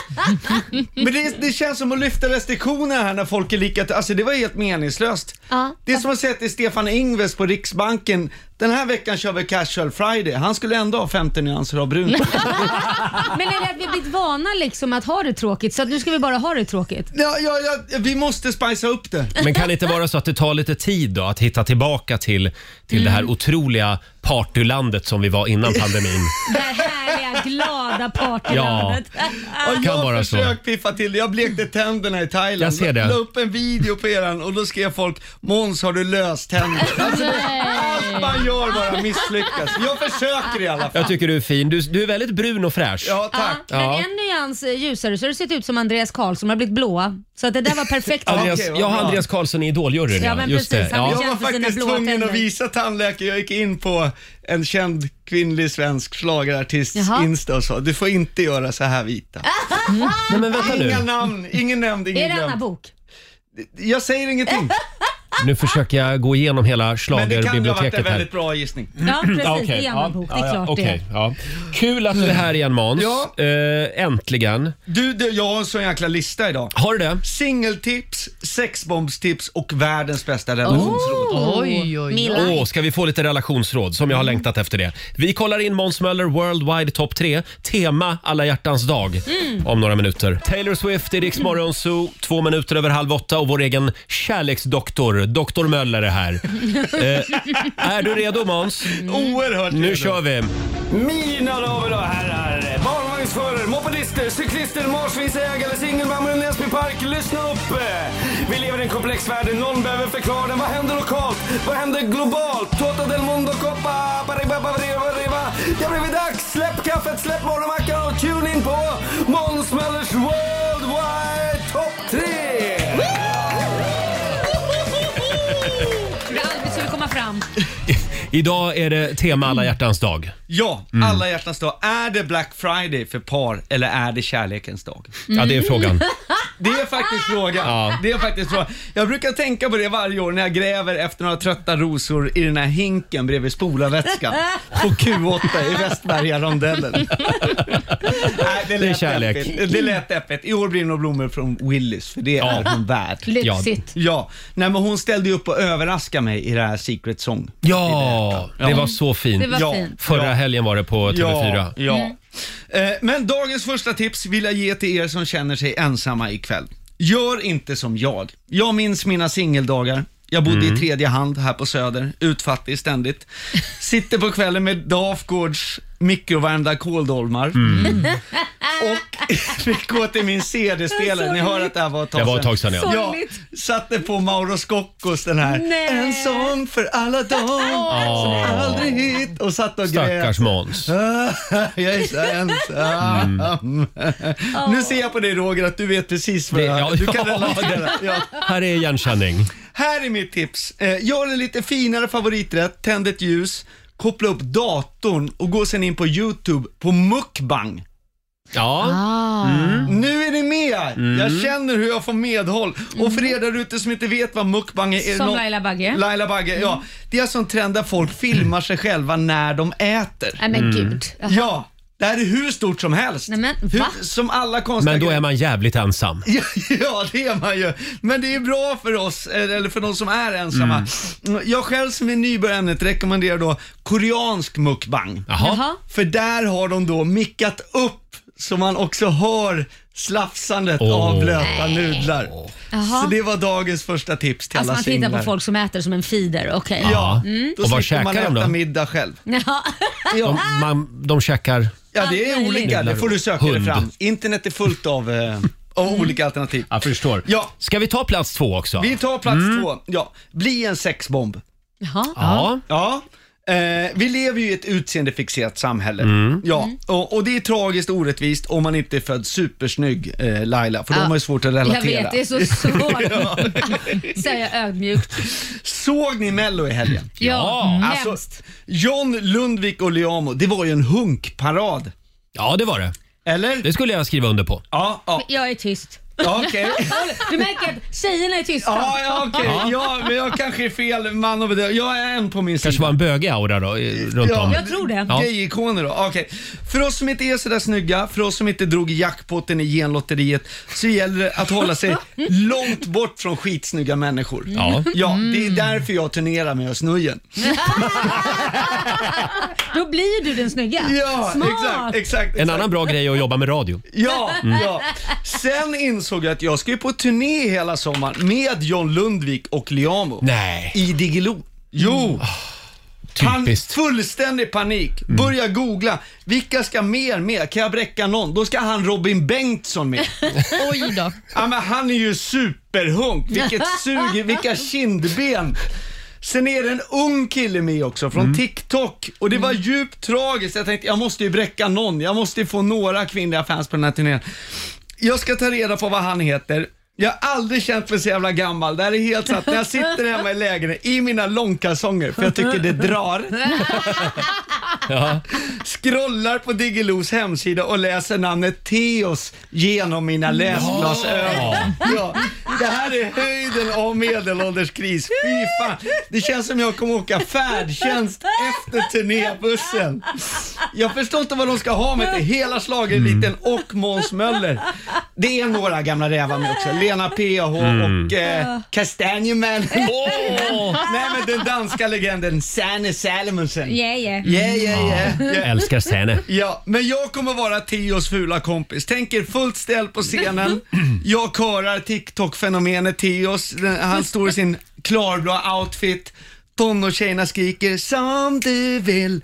men det, det känns som att lyfta restriktioner här när folk är lika, alltså det var helt meningslöst.
Ja.
Det är som att säga till Stefan Ingves på Riksbanken, den här veckan kör vi casual friday. Han skulle ändå ha 50 nyanser av brunt.
Men är det att vi har blivit vana liksom att ha det tråkigt så att nu ska vi bara ha det tråkigt?
Ja, ja, ja vi måste spicea upp det.
Men kan det inte vara så att det tar lite tid då att hitta tillbaka till, till det här otroliga partylandet som vi var innan pandemin?
Det här härliga, glada partylandet.
Och
Kan vara
jag
så.
försökte piffa till det. Jag blekte tänderna i Thailand.
Jag ser det.
La upp en video på eran och då skrev folk Måns har du löst tänder. Alltså, allt man gör bara misslyckas. Jag försöker i alla fall.
Jag tycker du är fin. Du, du är väldigt brun och fräsch.
Ja,
Ja, men en nyans eh, ljusare så har du sett ut som Andreas Karlsson, har blivit blåa. Så att det där var perfekt.
Andreas, jag har Andreas Karlsson i Idoljuryn.
Ja, men precis. Han
Ja.
är
Jag var
för sina
faktiskt
blåa
tvungen
tänder.
att visa tandläkare. Jag gick in på en känd kvinnlig svensk schlagerartists
Jaha.
Insta och sa du får inte göra så här vita.
Nej, men vänta
Inga
nu.
namn, ingen nämnd,
Är
ingen
det Anna
glömd.
Bok?
Jag säger ingenting.
Nu försöker jag gå igenom hela
Men det kan ju ha varit en
schlagerbiblioteket här.
väldigt bra gissning.
Ja, precis.
okej.
Det är Anna Bok. Det är klart det
okej, ja. Kul att du är här igen Måns.
Ja.
Eh, äntligen.
Du, du, jag har en sån jäkla lista idag.
Har du det?
Singeltips, sexbombstips och världens bästa
Oh.
relationsråd.
Oj, oj, oj.
Milla.
Åh, ska vi få lite relationsråd som jag har längtat efter det. Vi kollar in Måns Möller Worldwide Top 3, tema alla hjärtans dag
Mm.
om några minuter. Taylor Swift i Rix Morgon Zoo, två minuter över halv åtta och vår egen kärleksdoktor, doktor Möller är här. eh, är du redo Måns?
Oerhört
Nu
redo.
kör vi!
Mina damer och herrar, barnvagnsförare, mopedister, cyklister, marsvinsägare, singelmammor i Näsby Park. Lyssna upp! Vi lever i en komplex värld, någon behöver förklara den. Vad händer lokalt? Vad händer globalt? Toto del mondo coppa, pariba, pariba, pariba. Det har blivit dags! Släpp kaffet, släpp morgonmackan och tune in på Måns Möllers Worldwide Top 3!
Vi aldrig skulle komma fram.
Idag är det tema alla hjärtans dag.
Ja,
Mm.
alla hjärtans dag. Är det Black Friday för par eller är det kärlekens dag?
Ja, det är
Mm.
frågan.
Det är faktiskt frågan.
Ja.
Det är faktiskt frågan. Jag brukar tänka på det varje år när jag gräver efter några trötta rosor i den här hinken bredvid spolarvätskan på Q8 i Västberga rondellen. Nej, det, lät
Det är kärlek.
Deppigt. Det lät deppigt. I år blir det nog blommor från Willys, för det
Ja.
är hon värd.
Lyxigt.
Ja, nej men hon ställde ju upp och överraskade mig i det här Secret Song.
Ja, det var så fint.
Det var
Ja.
fint.
Förra helgen var det på TV4.
Ja, ja.
Mm.
Eh, Men dagens första tips vill jag ge till er som känner sig ensamma ikväll. Gör inte som jag. Jag minns mina singeldagar. Jag bodde
Mm.
i tredje hand här på Söder, utfattig ständigt. Sitter på kvällen med Dafgårds mikrovärmda kåldolmar.
Mm.
Och fick gå till min CD-spelare. Ni hör att det här var ett tag
Det var ett tag sedan ja.
Ja,
Sorgligt.
satte på Mauro Scoccos den här.
Nej.
En sång för alla dem som
Åh.
aldrig hit. Och satt och grät.
Stackars Måns.
Jag är så ensam. Nu ser jag på dig Roger att du vet precis vad
Mm. Det-
jag...
ja,
du kan
ja.
relatera. Ja.
Här är igenkänning.
Här är mitt tips. Eh, Gör en lite finare favoriträtt, tänd ett ljus, koppla upp datorn och gå sen in på YouTube på mukbang.
Ja.
Ah.
Mm.
Nu är ni med! Jag känner hur jag får medhåll. Och för er där ute som inte vet vad mukbang är... är
Som
nå-
Laila Mm. Bagge.
Laila Bagge, ja. Det är alltså en trend där folk filmar sig själva när de äter.
Nej men gud.
Ja, det här är hur stort som helst.
Nej, men
hur,
va?
som alla konstiga
Men då är
grejer.
man jävligt ensam.
Ja, ja, det är man ju. Men det är bra för oss, eh, eller för de som är ensamma.
Mm.
Jag själv som är ny på ämnet rekommenderar då koreansk mukbang.
Jaha.
Jaha.
För där har de då mickat upp så man också hör slafsandet
Åh.
av blöta nudlar.
Jaha.
Så det var dagens första tips till
Alltså
alla
man tittar
singlar.
på folk som äter som en feeder, okej.
Ja,
Mm.
Och vad
då slipper man
käkar de
äta
då?
middag själv.
Ja.
De, man, de käkar...
Ja, det är
Allt
olika.
möjligt.
Det får du söka dig
Hund.
fram. Internet är fullt av, eh, av olika alternativ.
Jag förstår.
Ja.
Ska vi ta plats två också?
Vi tar plats
Mm.
två. Ja, bli en sexbomb.
Jaha.
Ja.
Ja. Eh, vi lever ju i ett utseendefixerat samhälle.
Mm.
Ja,
Mm.
och, och det är tragiskt och orättvist om man inte är född supersnygg, eh, Laila, för då har man ju svårt att
Jag
relatera.
vet, det är så svårt. Säger jag ödmjukt.
Såg ni Mello i helgen? Alltså,
Ja.
Ja, mm. hemskt.
John Lundvik och Liamo, det var ju en hunkparad.
Ja, det var det.
Eller?
Det skulle jag skriva under på.
Ja, ja.
Jag är tyst.
Ja, okej.
Du märker att tjejerna är tysta.
Ja, ja okej. Ja, men jag kanske är fel man att bedöma. Jag är en på min sida.
kanske var en bögig aura då, i- runt om. Ja.
Gayikoner då, okej. För oss som inte är sådär snygga, för oss som inte drog jackpotten i genlotteriet, så gäller det att hålla sig långt bort från skitsnygga människor.
Ja. Mm.
ja det är därför jag turnerar med Özz Nujen.
Då blir du den snygga.
Ja,
Smart.
exakt, exakt,
En
exakt.
annan Mm. bra grej är att jobba med radio.
Ja, ja. Sen insåg jag att jag ska ju på turné hela sommaren med John Lundvik och Liamo.
Nej.
I Diggiloo. Jo! Pan-
Typiskt.
fullständig panik. Börja googla. Vilka ska mer med? Kan jag bräcka någon? Då ska han Robin Bengtsson med.
Oj då.
Ja, men han är ju superhunk. Vilket sug, vilka kindben. Sen är det en ung kille med också från TikTok och det var djupt tragiskt. Jag tänkte jag måste ju bräcka någon. Jag måste ju få några kvinnliga fans på den här turnén. Jag ska ta reda på vad han heter. Jag har aldrig känt mig så jävla gammal. Det här är helt sant. När jag sitter hemma i lägenheten i mina långkalsonger, för jag tycker det drar
Ja.
scrollar på Diggeloos hemsida och läser namnet Theos genom mina läsglasögon. Ja, det här är höjden av medelålderskris. Fy fan. Det känns som jag kommer åka färdtjänst efter turnébussen. Jag förstår inte vad de ska ha med det. Hela schlagereliten och Måns Möller. Det är några gamla rävar med också. Lena PH och eh, Kastanjeman. Nej men den danska legenden Sanne Salomonsen.
Yeah, yeah.
Yeah, yeah, yeah. yeah.
Älskar Säne.
Ja, men jag kommer vara Theos fula kompis. Tänker fullt ställ på scenen. Jag körar TikTok-fenomenet Theos. Den- Han står i sin klarblå outfit. Tonårstjejerna skriker som du vill.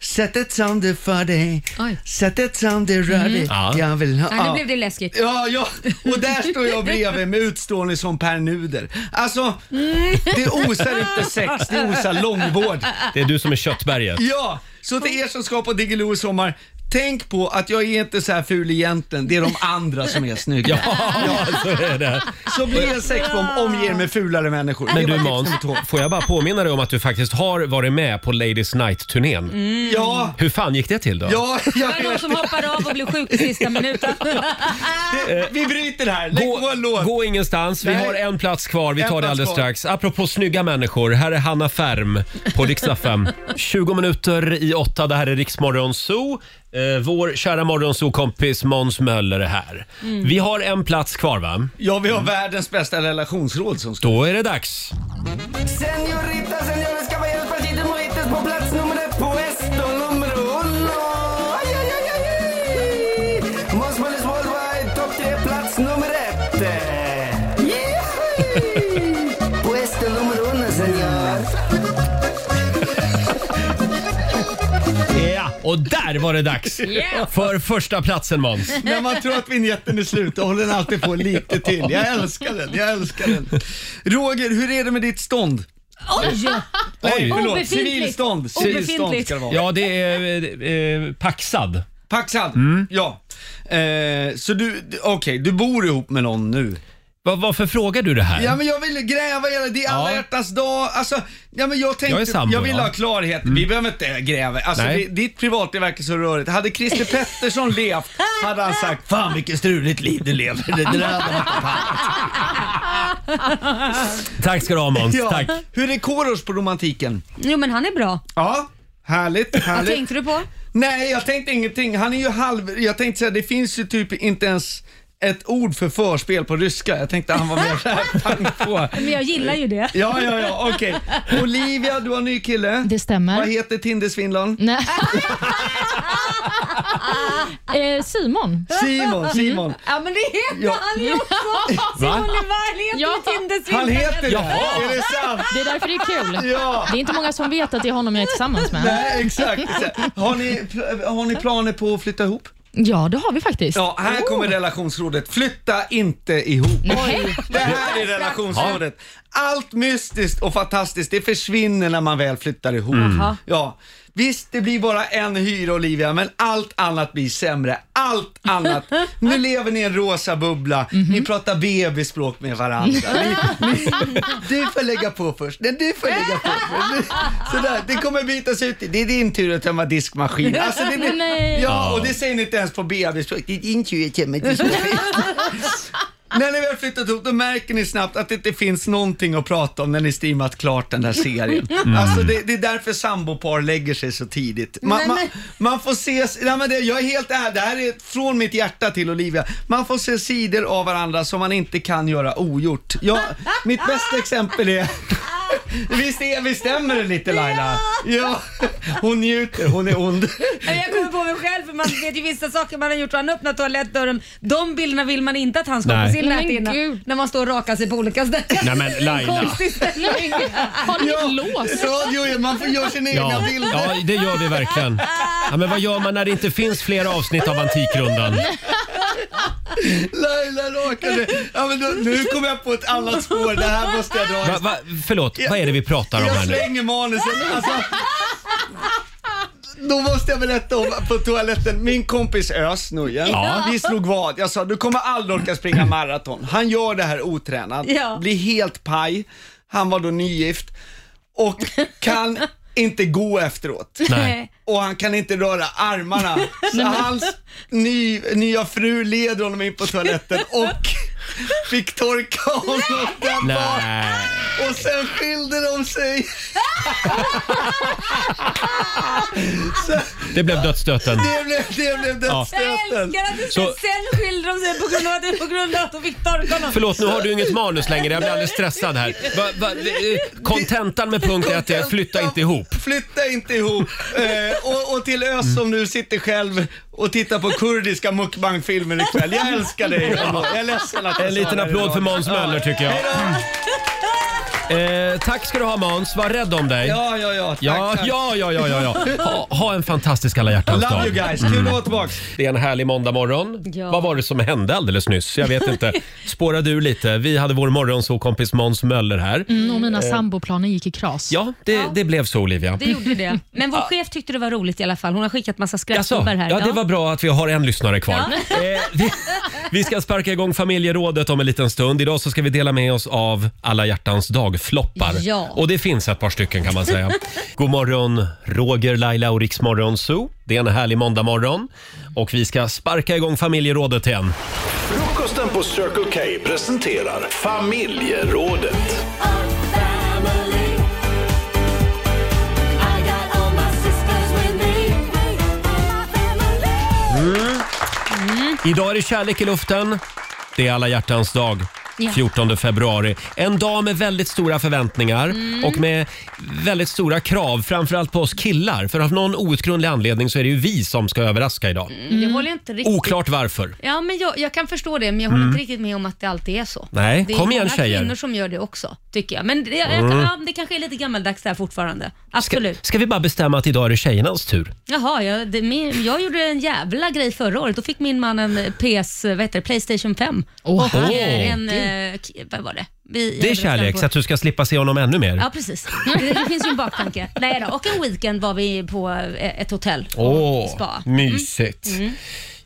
Sättet som du för dig.
Oj. Mm.
Sättet som du rör dig.
Ja.
Jag vill ha.
Ja, nu blev det läskigt.
Ja, ja, och där står jag bredvid med utstrålning som Per Nuder. Alltså,
Mm.
det osar inte sex, det osar långvård.
Det är du som är köttberget.
Ja, så till er som ska på Diggiloo i sommar. Tänk på att jag är inte så här ful egentligen. Det är de andra som är snygga.
Ja, så är det.
Så bli en sexbomb, omge er med fulare människor.
Men
Det
du
var tips
Måns,
nummer två.
får jag bara påminna dig om att du faktiskt har varit med på Ladies Night-turnén.
Ja,
Hur fan gick det till då?
Mm. ja,
Det var
jag
någon
vet.
som hoppade av och blev sjuk i sista minuten.
Vi bryter här. Lägg på
Gå,
en låt.
gå ingenstans, vi
Nej.
har en plats kvar. Vi
En
tar det
plats
alldeles
kvar.
strax. Apropå snygga människor, här är Hanna Färm på riksdag 5. 20 minuter i åtta, det här är Riksmorgon Zoo. Eh, vår kära morgonzoo-kompis Måns Möller är här.
Mm.
Vi har en plats kvar va?
Ja, vi har världens bästa relationsråd som står.
Då är det dags.
Senorita, señores, caballeros, partidos, mojitos på plats nummer ett, puesto numero uno. Aj, aj, aj, aj, aj. Måns Möllers Worldwide, topp tre, plats nummer ett. Yay! Puesto numero uno, señor.
Ja, och där var det dags för första platsen Måns.
När man tror att vignetten är slut, då håller den alltid på lite till. Jag älskar den, jag älskar den. Roger, hur är det med ditt stånd?
Oj!
Nej, förlåt.
Obefintligt.
Civilstånd. Civilstånd
Obefintligt.
ska det vara.
Ja, det är eh, eh, paxad.
Paxad, ja. Eh, så du, d- okej, du bor ihop med någon nu?
Va, varför frågar du det här?
Ja men jag vill gräva i det, det är alla
Ja.
hjärtans dag. Alltså, ja men jag tänkte,
Jag är
jag,
sambo,
vill
ja.
ha klarhet. Vi behöver inte gräva. Alltså
Nej.
det, ditt privatliv verkar så rörigt. Hade Christer Pettersson levt, hade han sagt Fan vilket struligt liv du lever. Det där hade varit
Tack ska du ha Måns.
ja.
Tack.
Hur är Korosh på romantiken?
Jo men han är bra.
Ja, härligt,
Vad
härligt.
tänkte du på?
Nej, jag tänkte ingenting. Han är ju halv... Jag tänkte säga, det finns ju typ inte ens ett ord för förspel på ryska. Jag tänkte han var mer såhär pang på.
Men jag gillar ju det.
Ja, ja, ja, okej. Olivia, du har en ny kille.
Det
Vad
stämmer.
heter Tindersvindlaren?
Nej. eh, Simon.
Simon, Simon.
Ja men det heter
Ja.
han ju också!
Va?
Oliver
Ja.
heter ju
Han
Tindersvindlaren.
heter det!
Jaha.
Är det sant?
Det är därför det är kul.
Ja!
Det är inte många som vet att det är honom jag är tillsammans med.
Nej, exakt. exakt. Har ni, har ni planer på att flytta ihop?
Ja, det har vi faktiskt.
Ja, här kommer relationsrådet. Flytta inte ihop.
Nej.
Det här är relationsrådet. Allt mystiskt och fantastiskt, det försvinner när man väl flyttar ihop.
Mm. Jaha.
Ja. Visst, det blir bara en hyra Olivia, men allt annat blir sämre. Allt annat. Nu lever ni i en rosa bubbla,
Mhm.
ni pratar bebisspråk med varandra. Ni, ni, du får lägga på först, nej du får lägga på först. Sådär, det kommer bytas ut. Det är din tur att tömma diskmaskinen. Alltså, det blir,
Nej.
Ja, och det säger ni inte ens på bebisspråk. Det är din tur att tömma diskmaskinen. När ni väl flyttat ihop då märker ni snabbt att det inte finns någonting att prata om när ni streamat klart den där serien.
Mm.
Alltså det, det är därför sambopar lägger sig så tidigt. Man,
Nej,
man,
men-
man får se, nej men det, jag är helt ärlig, det här är från mitt hjärta till Olivia. Man får se sidor av varandra som man inte kan göra ogjort. Jag, mitt bästa exempel är Visst, är, visst stämmer det lite Laila? Ja. Hon njuter, hon är ond.
Nej, Jag kommer på mig själv för man vet ju vissa saker man har gjort. Han öppnar toalettdörren. De bilderna vill man inte att han ska
Nej.
på sin
Men
näthinna. När man står och rakar sig på olika ställen.
Nej, men Laila.
Konstig ställning.
Ja, Radio, man får göra sina egna
Ja,
bilder.
ja, det gör vi verkligen. Ja, men vad gör man när det inte finns fler avsnitt av Antikrundan?
Laila rakade. Ja, men då, nu kom jag på ett annat spår. Det här måste jag dra.
Va, va, förlåt, vad är det vi pratar om här
Jag
nu?
slänger manusen. Alltså, då måste jag berätta om på toaletten, min kompis Ös, Nujen,
Ja.
vi slog vad. Jag sa du kommer aldrig orka springa maraton. Han gör det här otränad,
Ja.
blir helt paj. Han var då nygift och kan inte gå efteråt.
Nej.
Och han kan inte röra armarna. Så
Nej, men-
hans ny, nya fru leder honom in på toaletten och fick torka honom där bak.
Nej.
Och sen skilde de sig. Så
Det blev dödsstöten.
det blev, det blev
Ja.
dödsstöten.
Jag älskar att du
Så-
sen skiljer de sig på grund av att du på grund av att de fick torka honom.
Förlåt, nu har du inget manus längre. Jag blir alldeles stressad här. Va, va, eh, kontentan med punkt ett är flytta inte ihop. Mm.
Flytta inte ihop. Eh, och, och till Ös som nu sitter själv och tittar på kurdiska mukbangfilmer ikväll. Jag älskar dig. Jag är ledsen att jag
En
sa
liten
det
applåd
idag.
för Måns Möller tycker jag. Eh, tack ska du ha Måns, var rädd om dig.
Ja, ja, ja. Tack,
ja,
tack.
ja, ja, ja, ja, ja. Ha, ha en fantastisk alla hjärtans
Love
dag.
you guys. Kul att vara tillbaka.
Det är en härlig måndag morgon. Vad var det som hände alldeles nyss? Jag vet inte. Spårade du lite? Vi hade vår morgonsåkompis Måns Möller här.
Mm, och mina
Eh,
samboplaner gick i kras.
Ja, det, det blev så Olivia.
Det gjorde det. Men vår chef tyckte det var roligt i alla fall. Hon har skickat massa
Jaså,
skrattgubbar här.
Alltså, ja, det var bra att vi har en lyssnare kvar. Eh,
Ja.
Vi ska sparka igång familjerådet om en liten stund. Idag så ska vi dela med oss av alla hjärtans dag-floppar.
Ja.
Och det finns ett par stycken kan man säga. God morgon, Roger, Laila och Riksmorgon Zoo. Det är en härlig måndagmorgon. Och vi ska sparka igång familjerådet igen.
Frukosten på Circle K presenterar Familjerådet.
Idag är det kärlek i luften. Det är alla hjärtans dag.
Ja.
14 februari. En dag med väldigt stora förväntningar
Mm.
och med väldigt stora krav, framförallt på oss killar. För av någon outgrundlig anledning så är det ju vi som ska överraska idag.
Mm, det håller jag inte riktigt.
Oklart varför.
Ja, men jag, jag kan förstå det, men jag håller
Mm.
inte riktigt med om att det alltid är så.
Nej,
det är
kom igen,
många
tjejer.
kvinnor som gör det också, tycker jag. Men det, jag,
Mm.
ja, det kanske är lite gammaldags där fortfarande. Absolut.
Ska vi bara bestämma att idag är det tjejernas tur?
Jaha, jag, det, min, jag gjorde en jävla grej förra året. Då fick min man en PS, vad heter det, Playstation 5.
Åh,
och
herregud.
eh, en, eh, k- vad var det? Vi- jag
Det är
överraskade
kärlek,
på-
så att du ska slippa se honom ännu mer.
Ja, precis. Det, det finns ju en baktanke. Nej då, och en weekend var vi på eh, ett hotell och
Åh,
spa.
mysigt.
Mm.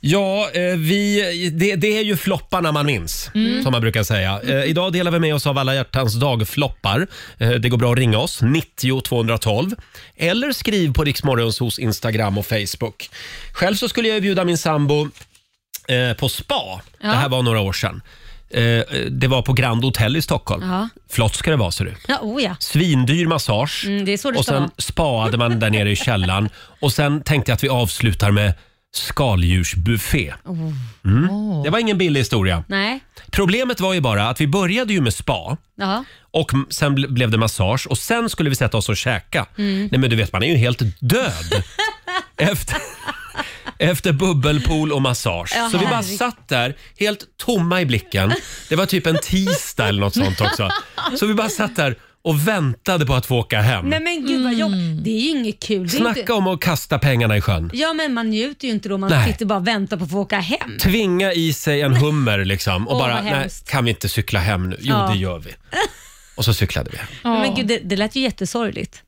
Ja, eh, vi, det, det är ju flopparna man minns,
Mm.
som man brukar säga. Eh, Idag delar vi med oss av alla hjärtans dag-floppar. Eh, Det går bra att ringa oss, 90 212. Eller skriv på Riksmorgons hos Instagram och Facebook. Själv så skulle jag bjuda min sambo eh, på spa.
Ja.
Det här var några år sedan. Eh, eh, Det var på Grand Hotel i Stockholm.
Ja.
Flott ska det vara, ser du.
Ja, oh ja.
Svindyr massage.
Mm, det är så det
Och
ska vara.
sen spaade man där nere i källaren. Och sen tänkte jag att vi avslutar med skaldjursbuffé.
Oh.
Mm. Det var ingen billig historia.
Nej,
Problemet var ju bara att vi började ju med spa
ja.
och m- sen ble- blev det massage och sen skulle vi sätta oss och käka.
Mm.
Nej men du vet, man är ju helt död efter, efter bubbelpool och massage.
Ja,
Så vi bara
herregud.
satt där helt tomma i blicken. Det var typ en tisdag eller något sånt också. Så vi bara satt där och väntade på att få åka hem.
Nej men gud vad jobbigt. Det är ju inget kul. Det är
Snacka
inte...
om att kasta pengarna i sjön.
Ja men man njuter ju inte då. Man
Nej.
sitter bara och väntar på att få åka hem.
Tvinga i sig en hummer liksom och
Åh,
bara,
vad
nej,
hemskt."
kan vi inte cykla hem nu? Jo,
Ja.
det gör vi. Och så cyklade vi.
Mm,
Men gud, det, det lät ju jättesorgligt.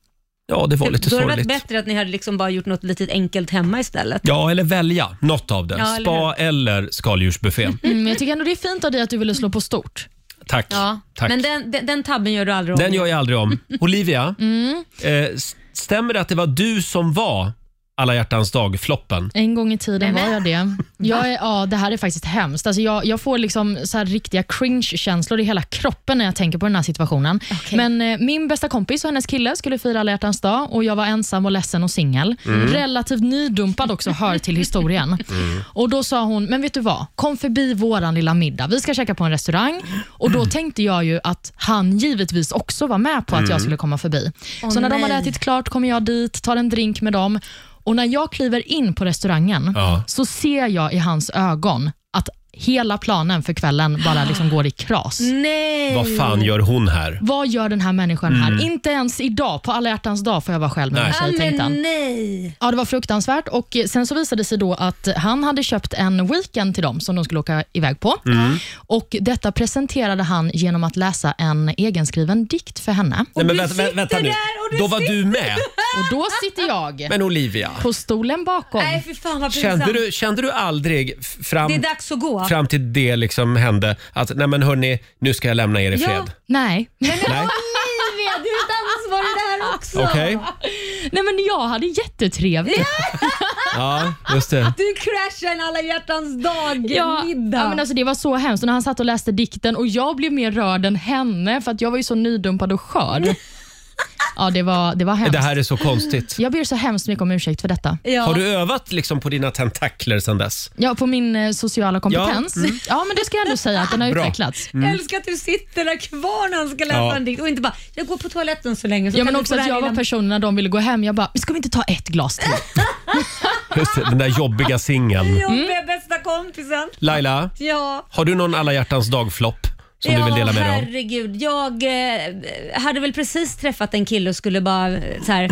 Ja, det var lite
Då hade det varit
sorgligt.
bättre att ni hade liksom bara gjort något litet enkelt hemma istället.
Ja, eller välja något av det.
Ja, eller
Spa eller skaldjursbuffé.
Mm, jag tycker ändå det är fint av dig att du ville slå på stort.
Tack. Tack.
Men den, den, den tabben gör du aldrig om.
Den gör jag aldrig om. Olivia,
Mm.
eh, s- stämmer det att det var du som var alla hjärtans dag-floppen?
En gång i tiden var jag det. Jag är, ja, det här är faktiskt hemskt. Alltså jag, jag får liksom så här riktiga cringe-känslor i hela kroppen när jag tänker på den här situationen. Men eh, Min bästa kompis och hennes kille skulle fira alla hjärtans dag och jag var ensam och ledsen och singel.
Mm.
Relativt nydumpad också, hör till historien. Och Då sa hon, men vet du vad? Kom förbi våran lilla middag. Vi ska käka på en restaurang. Och Då tänkte jag ju att han givetvis också var med på att
Mm.
jag skulle komma förbi.
Åh,
så när de hade
nej.
ätit klart kommer jag dit, tar en drink med dem. Och När jag kliver in på restaurangen
Ja.
så ser jag i hans ögon att hela planen för kvällen bara liksom går i kras.
Mm. Nej.
Vad fan gör hon här?
Vad gör den här människan
Mm.
här? Inte ens idag, på alla hjärtans dag, får jag vara själv med
Nej.
min
Ja,
tjej, tänkte han.
Nej.
Ja, det var fruktansvärt. Och eh, Sen så visade det sig då att han hade köpt en weekend till dem som de skulle åka iväg på.
Mm.
Och Detta presenterade han genom att läsa en egenskriven dikt för henne.
Nej, men vänta, vänta, vänta nu. Då var du med.
Och då sitter jag
Men Olivia,
på stolen bakom.
Nej, för fan vad pinsamt.
kände du, kände du aldrig f- fram,
Det är dags att gå.
fram till det liksom hände att nej men hörni, nu ska jag lämna er i fred?
Nej.
Nej.
Olivia, du är ansvarig där också.
Okej.
Nej, men jag hade jättetrevligt.
Ja, just det.
Du crashar en alla hjärtans dag
Ja,
middag.
ja, men alltså det var så hemskt. Och när han satt och läste dikten och jag blev mer rörd än henne för att jag var ju så nydumpad och skörd. Ja, det var, det var hemskt.
Det här är så konstigt.
Jag ber så hemskt mycket om ursäkt för detta.
Har du övat liksom på dina tentakler sedan dess?
Ja, på min eh, sociala kompetens.
Ja,
Ja,
mm.
men det ska jag ändå säga att den har
Bra.
utvecklats.
Mm.
Jag älskar att du sitter där kvar när han ska läsa
Ja.
en dikt och inte bara “jag går på toaletten så länge”. Så
Ja,
kan
men
du
också
få det
att
här
jag var
lilla-
personen när de ville gå hem. Jag bara, ska vi inte ta ett glas till?
Just det, den där jobbiga singeln.
Jobbiga
Mm.
bästa kompisen.
Laila,
Ja.
har du någon alla hjärtans dag-flopp som
ja,
du vill dela med dig av?
herregud. Jag eh, hade väl precis träffat en kille och skulle bara eh, så här,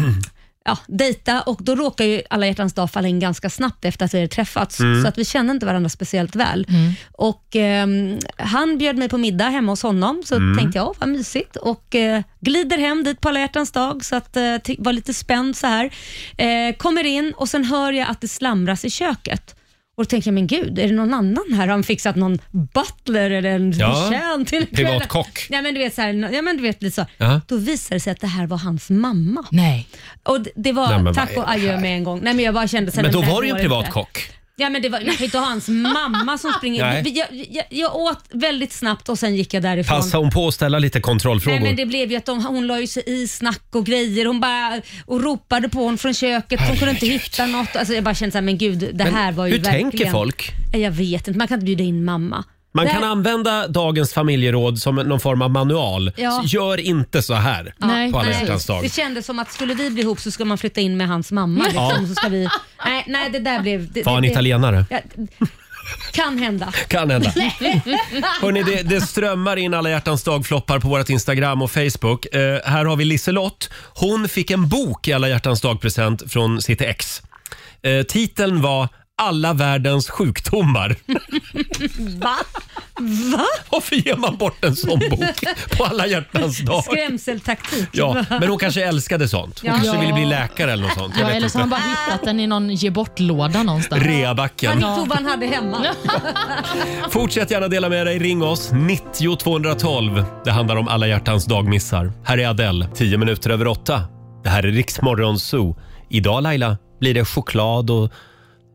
ja, dejta och då råkar ju alla hjärtans dag falla in ganska snabbt efter att vi hade träffats.
Mm.
Så att vi kände inte varandra speciellt väl. Och ehm, Han bjöd mig på middag hemma hos honom, så
Mm.
tänkte jag, åh vad mysigt. Och eh, glider hem dit på alla hjärtans dag, så att eh, ty- var lite spänd så här. Eh, kommer in och sen hör jag att det slamras i köket. Och då tänker jag, men gud, är det någon annan här? Har han fixat någon butler eller en
Ja,
betjänt? till
privat
kvällen?
kock.
Nej men du vet, så här, ja, men du vet lite så.
Ja.
Då visar det sig att det här var hans mamma.
Nej.
Och det- det var
Nej, men vad är
tack och
det
adjö med en gång. Nej men jag bara kände sen
Men då
fem
var det ju en
år
privat
efter.
kock.
Ja, men det var, jag kan ju inte ha hans mamma som springer.
Nej.
Vi- Jag, jag, jag åt väldigt snabbt och sen gick jag därifrån.
Passade hon på att ställa lite
Nej, men
kontrollfrågor?
det blev ju att de, hon la ju sig i snack och grejer. Hon bara och ropade på honom från köket. Hon kunde inte hitta något. Alltså, jag bara kände så här, men gud, det
Men
här var ju
hur tänker
verkligen...
folk?
Nej, Jag vet inte, man kan inte bjuda in mamma.
Man
Det här-
kan använda dagens familjeråd som någon form av manual.
Ja.
Så Gör inte så här på alla hjärtans dag.
Det kändes som att skulle vi bli ihop så ska man flytta in med hans mamma. Liksom,
Ja.
så ska vi... nej, nej, det där blev... Det,
Var han
det,
italienare?
Ja, kan hända.
Kan hända. Hörrni, det, det strömmar in alla hjärtans dagfloppar på vårt Instagram och Facebook. Eh, här har vi Liselott. Hon fick en bok i alla hjärtans dagpresent från sitt ex. Eh, titeln var Alla världens sjukdomar.
Va? Va?
Varför ger man bort en sån bok på alla hjärtans dag?
Skrämseltaktik.
Ja, men hon kanske älskade sånt. Hon
Ja.
kanske
Ja.
ville bli läkare eller något sånt. Jag
Ja,
vet
eller så har han
inte.
bara hittat den i någon ge bort-låda någonstans.
Reabacken.
Han tog vad han hade hemma.
Fortsätt gärna dela med dig. Ring oss. 90 212. Det handlar om alla hjärtans dagmissar. Här är Adele, 10 minuter över åtta. Det här är Riksmorgon Zoo. Idag Laila blir det choklad och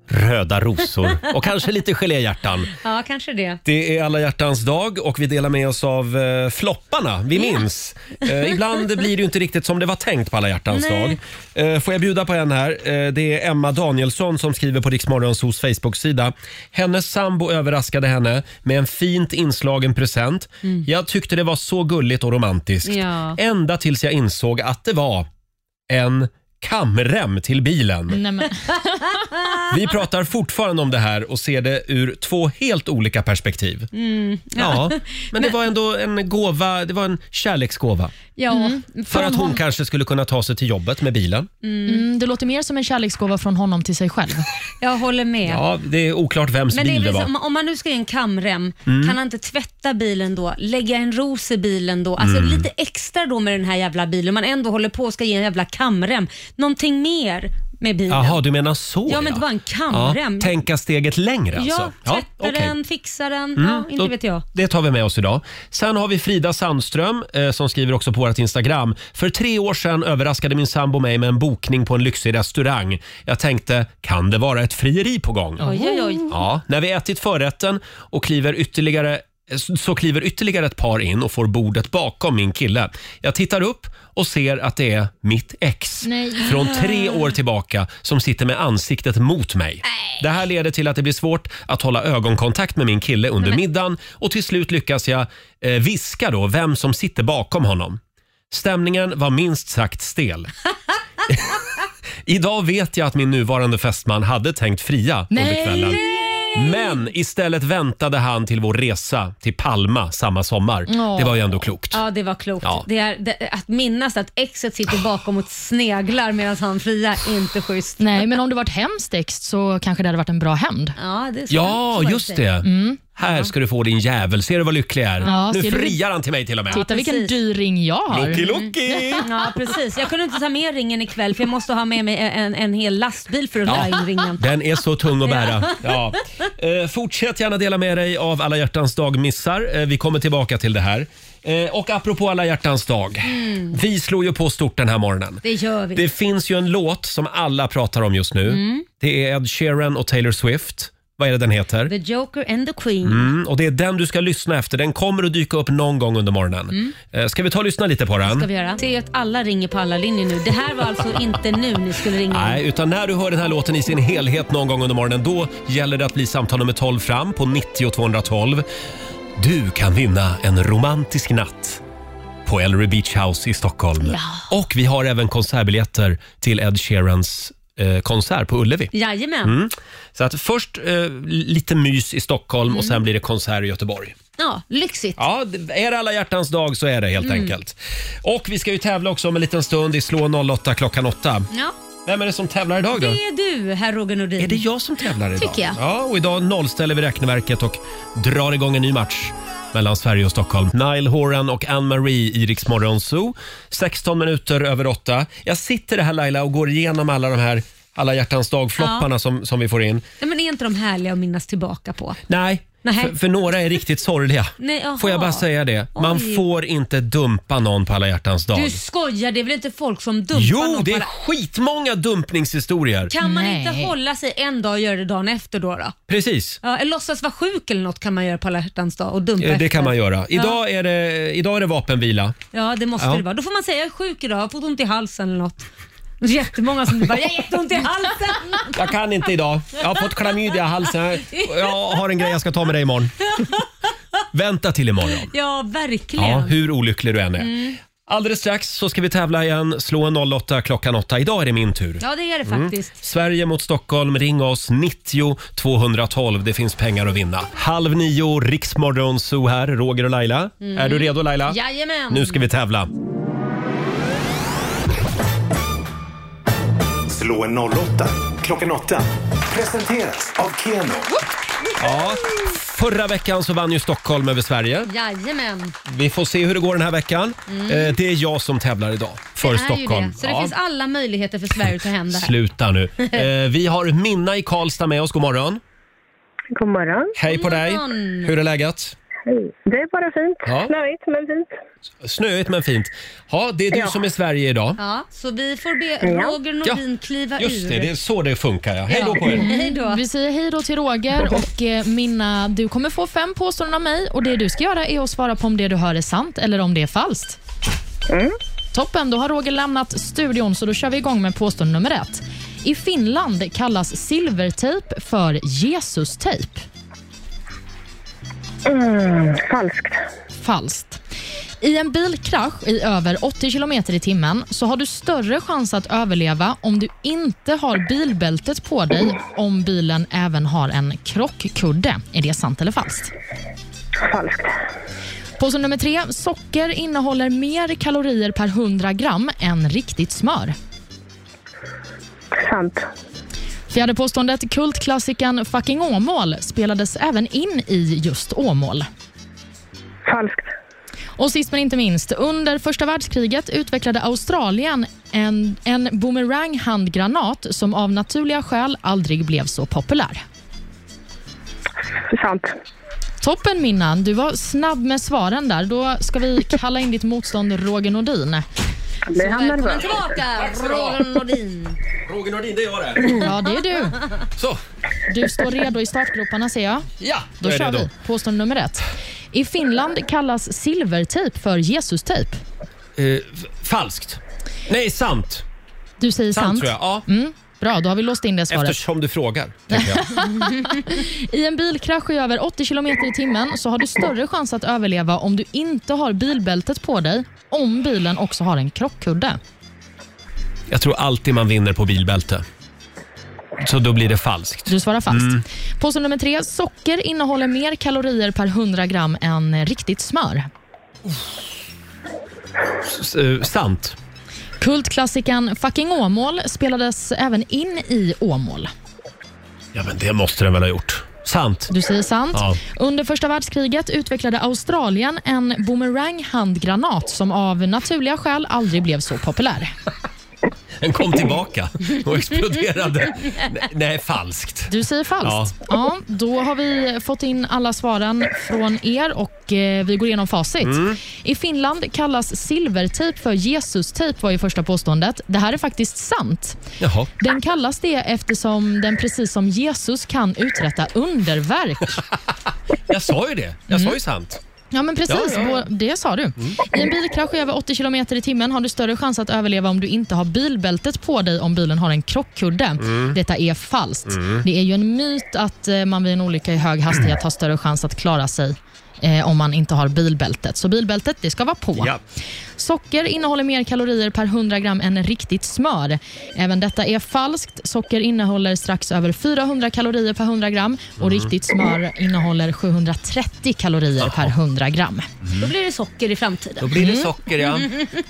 röda rosor och kanske lite geléhjärtan.
ja, kanske det.
Det är alla hjärtans dag och vi delar med oss av eh, flopparna vi minns. Eh, ibland blir det ju inte riktigt som det var tänkt på alla hjärtans
Nej.
dag. Eh, får jag bjuda på en här? Eh, det är Emma Danielsson som skriver på Riksmorgonsos Facebook-sida. Hennes sambo överraskade henne med en fint inslagen present. Jag tyckte det var så gulligt och romantiskt.
Mm. Ja.
Ända tills jag insåg att det var en kamrem till bilen.
Nej, men.
Vi pratar fortfarande om det här och ser det ur två helt olika perspektiv.
Mm.
Ja, men det var ändå en gåva, det var en kärleksgåva.
Ja.
För att hon kanske skulle kunna ta sig till jobbet med bilen.
Mm, det låter mer som en kärleksgåva från honom till sig själv.
Jag håller med.
Ja, det är oklart vems
Men det är
bil det
väl
var.
så, om- om man nu ska ge en kamrem,
Mm.
kan han inte tvätta bilen då? Lägga en ros i bilen då? Alltså
Mm.
lite extra då med den här jävla bilen. Man ändå håller på och ska ge en jävla kamrem. Någonting mer med bilen.
Jaha, du menar så
ja, men det var en kamrem.
Ja, tänka steget längre alltså.
Ja, tvätta
okej.
den, fixa den.
Mm,
ja, inte
då-
vet jag.
Det tar vi med oss idag. Sen har vi Frida Sandström eh, som skriver också på vårt Instagram. För tre år sedan överraskade min sambo mig med en bokning på en lyxig restaurang. Jag tänkte, kan det vara ett frieri på gång?
Oj, oj, oj.
Ja, när vi ätit förrätten och kliver ytterligare så kliver ytterligare ett par in och får bordet bakom min kille. Jag tittar upp och ser att det är mitt ex
Nej.
från tre år tillbaka som sitter med ansiktet mot mig. Det här leder till att det blir svårt att hålla ögonkontakt med min kille under
Nej, men-
middagen och till slut lyckas jag eh, viska då vem som sitter bakom honom. Stämningen var minst sagt stel. Idag vet jag att min nuvarande fästman hade tänkt fria under
Nej.
kvällen. Men istället väntade han till vår resa till Palma samma sommar.
Ja.
Det var ju ändå klokt.
Ja, det var klokt.
Ja. Ah.
Det är, det, att minnas att exet sitter bakom och sneglar medan han friar, inte schysst.
Nej, men om det varit hemskt ex så kanske det hade varit en bra hämnd.
Ja, det är så- så
Ja,
är
just det.
Mm.
Här ska du få din jävel. Ser du vad lycklig jag är?
Ja,
nu
ser du-
friar han till mig till och med.
Titta Mm. vilken dyr ring jag har.
Lucky, lucky.
Ja, precis. Jag kunde inte ta med ringen ikväll för jag måste ha med mig en, en hel lastbil för att
Ja.
dra in ringen.
Den är så tung att bära. Ja. Eh, fortsätt gärna dela med dig av alla hjärtans dag-missar. Eh, vi kommer tillbaka till det här. Eh, och apropå alla hjärtans dag.
Mm.
Vi slår ju på stort den här morgonen.
Det gör vi.
Det finns ju en låt som alla pratar om just nu.
Mm.
Det är Ed Sheeran och Taylor Swift. Vad är det den heter?
The Joker and the Queen.
Mm, och det är den du ska lyssna efter. Den kommer att dyka upp någon gång under morgonen.
Mm.
Eh, Ska vi ta och lyssna lite på
Ska
den?
vi göra. Ser ju att alla ringer på alla linjer nu. Det här var alltså inte nu ni skulle ringa.
Nej, utan när du hör den här låten i sin helhet någon gång under morgonen, då gäller det att bli samtal nummer 12 fram på 90 212. Du kan vinna en romantisk natt på Ellery Beach House i Stockholm. Och vi har även konsertbiljetter till Ed Sheerans eh, konsert på Ullevi.
Jajamän.
Mm. Så att först eh, lite mys i Stockholm och
Mm.
sen blir det konsert i Göteborg.
Ja, lyxigt.
Ja, det- är det alla hjärtans dag så är det helt
Mm.
enkelt. Och vi ska ju tävla också om en liten stund i Slå 08 klockan 8.
Ja.
Vem är det som tävlar idag
Det
då?
är du, herr Roger Nordin.
Är det jag som tävlar idag?
Tycker jag.
Ja, och idag nollställer vi räkneverket och drar igång en ny match mellan Sverige och Stockholm. Nile Horan och Ann-Marie i Rix Morgon Zoo. 16 minuter över 8. Jag sitter här Laila och går igenom alla de här alla hjärtans dag-flopparna
Ja.
som, som vi får in.
Nej, men är inte de härliga att minnas tillbaka på?
Nej,
Nej.
För, för några är riktigt sorgliga.
Nej, jaha.
Får jag bara säga det? Man
Oj.
får inte dumpa någon på alla hjärtans dag.
Du skojar, det är väl inte folk som dumpar
jo,
någon
det
på
är
alla-
skitmånga dumpningshistorier.
Kan man
Nej.
inte hålla sig en dag och göra det dagen efter då? då?
Precis.
Ja, eller låtsas vara sjuk eller något kan man göra på alla hjärtans dag och dumpa
Eh, Det
efter.
kan man göra.
Ja.
Idag är det, idag är det vapenvila.
Ja, det måste
Ja.
det vara. Då får man säga jag är sjuk idag, jag har fått ont i halsen eller något. Det är Jättemånga som bara, jag har jätteont i halsen.
Jag kan inte idag. Jag har fått klamydia i halsen. Jag har en grej jag ska ta med dig imorgon. Vänta till imorgon.
Ja, verkligen.
Ja, hur olycklig du än är.
Mm.
Alldeles strax så ska vi tävla igen. Slå en 08 klockan 8. Idag är det min tur.
Ja, det är det
Mm.
faktiskt.
Sverige mot Stockholm. Ring oss 90 212. Det finns pengar att vinna. Halv nio, Riksmorgon Zoo här. Roger och Laila.
Mm.
Är du redo Laila?
Jajamän.
Nu ska vi tävla.
Slå en 08 klockan 8. Presenteras av Keno.
Ja, förra veckan så vann ju Stockholm över Sverige.
Jajamän.
Vi får se hur det går den här veckan.
Mm.
Eh, det är jag som tävlar idag för
det Är
Stockholm.
ju det. Så det
Ja.
finns alla möjligheter för Sverige att ta hem det här.
Sluta nu. Eh, vi har Minna i Karlstad med oss. God morgon.
God morgon.
Hej på
God
dig.
morgon.
Hur är läget?
Det är bara fint.
Ja.
Snöigt men fint.
Snöigt men fint. Ja, det är du
Ja.
som är Sverige idag.
Ja, så vi får
Ja.
be Roger Nordin kliva
Just
ur.
det, det är så det funkar. Ja. Hej då på
Mm.
er.
Vi säger hej då till Roger och eh, Minna, du kommer få fem påståenden av mig och det du ska göra är att svara på om det du hör är sant eller om det är falskt. Toppen, då har Roger lämnat studion så då kör vi igång med påstående nummer ett. I Finland kallas silvertejp för Jesus-tejp.
falskt.
Falskt. I en bilkrasch i över 80 km i timmen så har du större chans att överleva om du inte har bilbältet på dig om bilen även har en krockkudde. Är det sant eller falskt?
Falskt.
Påse nummer tre. Socker innehåller mer kalorier per 100 gram än riktigt smör.
Sant.
Fjärde påståendet. Kultklassikern Fucking Åmål spelades även in i just Åmål.
Falskt.
Och sist men inte minst, under första världskriget utvecklade Australien en, en boomerang-handgranat som av naturliga skäl aldrig blev så populär.
Sant.
Toppen Minnan, du var snabb med svaren där. Då ska vi kalla in ditt motstånd Roger Nordin.
blir han
Välkommen
nervös.
tillbaka,
Tack så bra.
Roger Nordin.
Mm.
Roger Nordin, det är jag det.
Ja, det är du.
Så.
Du står redo i startgroparna ser jag.
Ja,
Då
jag är
kör
redo.
vi. Påstående nummer ett. I Finland kallas silvertejp för Jesus-tejp.
Eh, f- falskt. Nej, sant.
Du säger sant.
Sant, tror jag. Ja.
Mm, bra, då har vi låst in det svaret.
Eftersom du frågar, tänker jag.
I en bilkrasch i över 80 km i timmen så har du större chans att överleva om du inte har bilbältet på dig, om bilen också har en krockkudde.
Jag tror alltid man vinner på bilbälte. Så då blir det falskt.
Du svarar falskt. Påstående nummer tre. Socker innehåller mer kalorier per 100 gram än riktigt smör.
S- eh, sant.
Kultklassikern Fucking Åmål spelades även in i Åmål.
Ja, men det måste den väl ha gjort. Sant.
Du säger sant.
Ja.
Under första världskriget utvecklade Australien en boomerang-handgranat som av naturliga skäl aldrig blev så populär.
Den kom tillbaka och exploderade. Nej, Nej, falskt.
Du säger falskt. Ja. då har vi fått in alla svaren från er och eh, vi går igenom facit.
Mm.
I Finland kallas silvertejp för Jesus-tejp var ju första påståendet. Det här är faktiskt sant.
Jaha.
Den kallas det eftersom den precis som Jesus kan uträtta underverk.
Jag sa ju det. Jag
Mm.
sa ju sant.
Ja, men precis.
Ja, ja.
Vår- Det sa du. I en bilkrasch i över 80 km i timmen har du större chans att överleva om du inte har bilbältet på dig om bilen har en krockkudde.
Mm.
Detta är falskt.
Mm.
Det är ju en myt att eh, man vid en olycka i hög hastighet har större chans att klara sig eh, om man inte har bilbältet. Så bilbältet, det ska vara på. Socker innehåller mer kalorier per 100 gram än riktigt smör. Även detta är falskt. Socker innehåller strax över 400 kalorier per 100 gram och
Mm.
riktigt smör innehåller 730 kalorier per 100 gram.
Då blir det socker i framtiden.
Då blir det Mm. socker, ja.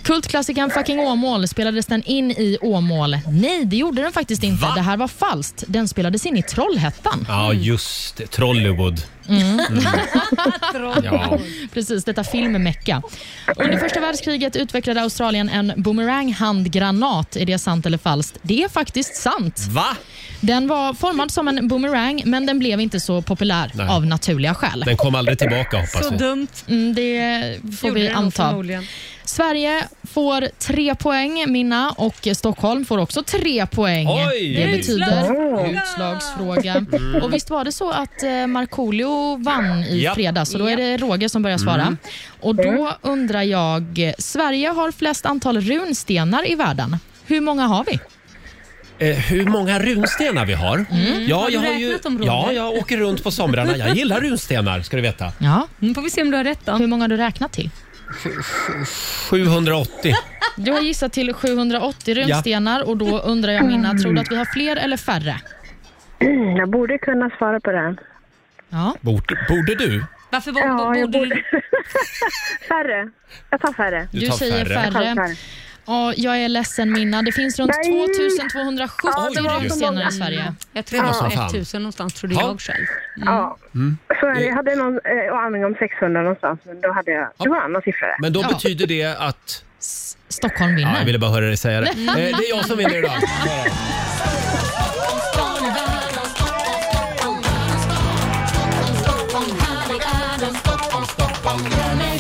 Kultklassikern Fucking Åmål spelades den in i Åmål? Nej, det gjorde den faktiskt inte. Det här var falskt. Den spelades in i Trollhättan.
Ja, just det. Trollywood.
Mm.
Ja.
Precis, detta filmmecka. Under första världskriget utvecklade Australien en boomerang-handgranat. Är det sant eller falskt? Det är faktiskt sant.
Va?
Den var formad som en boomerang, men den blev inte så populär
Nej.
av naturliga skäl.
Den kom aldrig tillbaka, hoppas vi.
Mm, det får
Gjorde
vi
den nog
anta.
förmodligen.
Sverige får tre poäng, Minna, och Stockholm får också tre poäng.
Oj!
Det betyder
Utslagsfråga!
utslagsfråga.
Mm.
Och visst var det så att eh, Markoolio vann i
Japp.
fredags, så då är det Roger som börjar svara.
Mm.
Och då undrar jag, eh, Sverige har flest antal runstenar i världen. Hur många har vi?
Eh, hur många runstenar vi har?
Mm. Har du
jag
räknat dem, Roger?
ja, jag åker runt på somrarna. Jag gillar runstenar, ska du veta.
Ja.
Nu Mm, får vi se om du har rätt då.
Hur många har du räknat till?
780.
Du har gissat till 780 runstenar och då undrar jag Minna, tror du att vi har fler eller färre?
Jag borde kunna svara på det. här.
Ja.
Borde, borde du?
Varför
ja, jag borde... färre. Jag tar färre.
Du tar
säger
färre.
Jag tar
färre. Ja, jag är ledsen Minna. Det finns runt
Nej.
2270
Ja, det var så
runstenar
många.
i Sverige.
Jag
tror Det var det var som fan.
1000 någonstans trodde
Ja.
jag själv.
Ja, så är det. jag hade någon eh, aning om 600 någonstans, men då hade jag... Det var en annan siffra.
Men då betyder det att...
Stockholm vinner.
Ja, jag ville bara höra dig säga det. Eh, det är jag som vinner idag.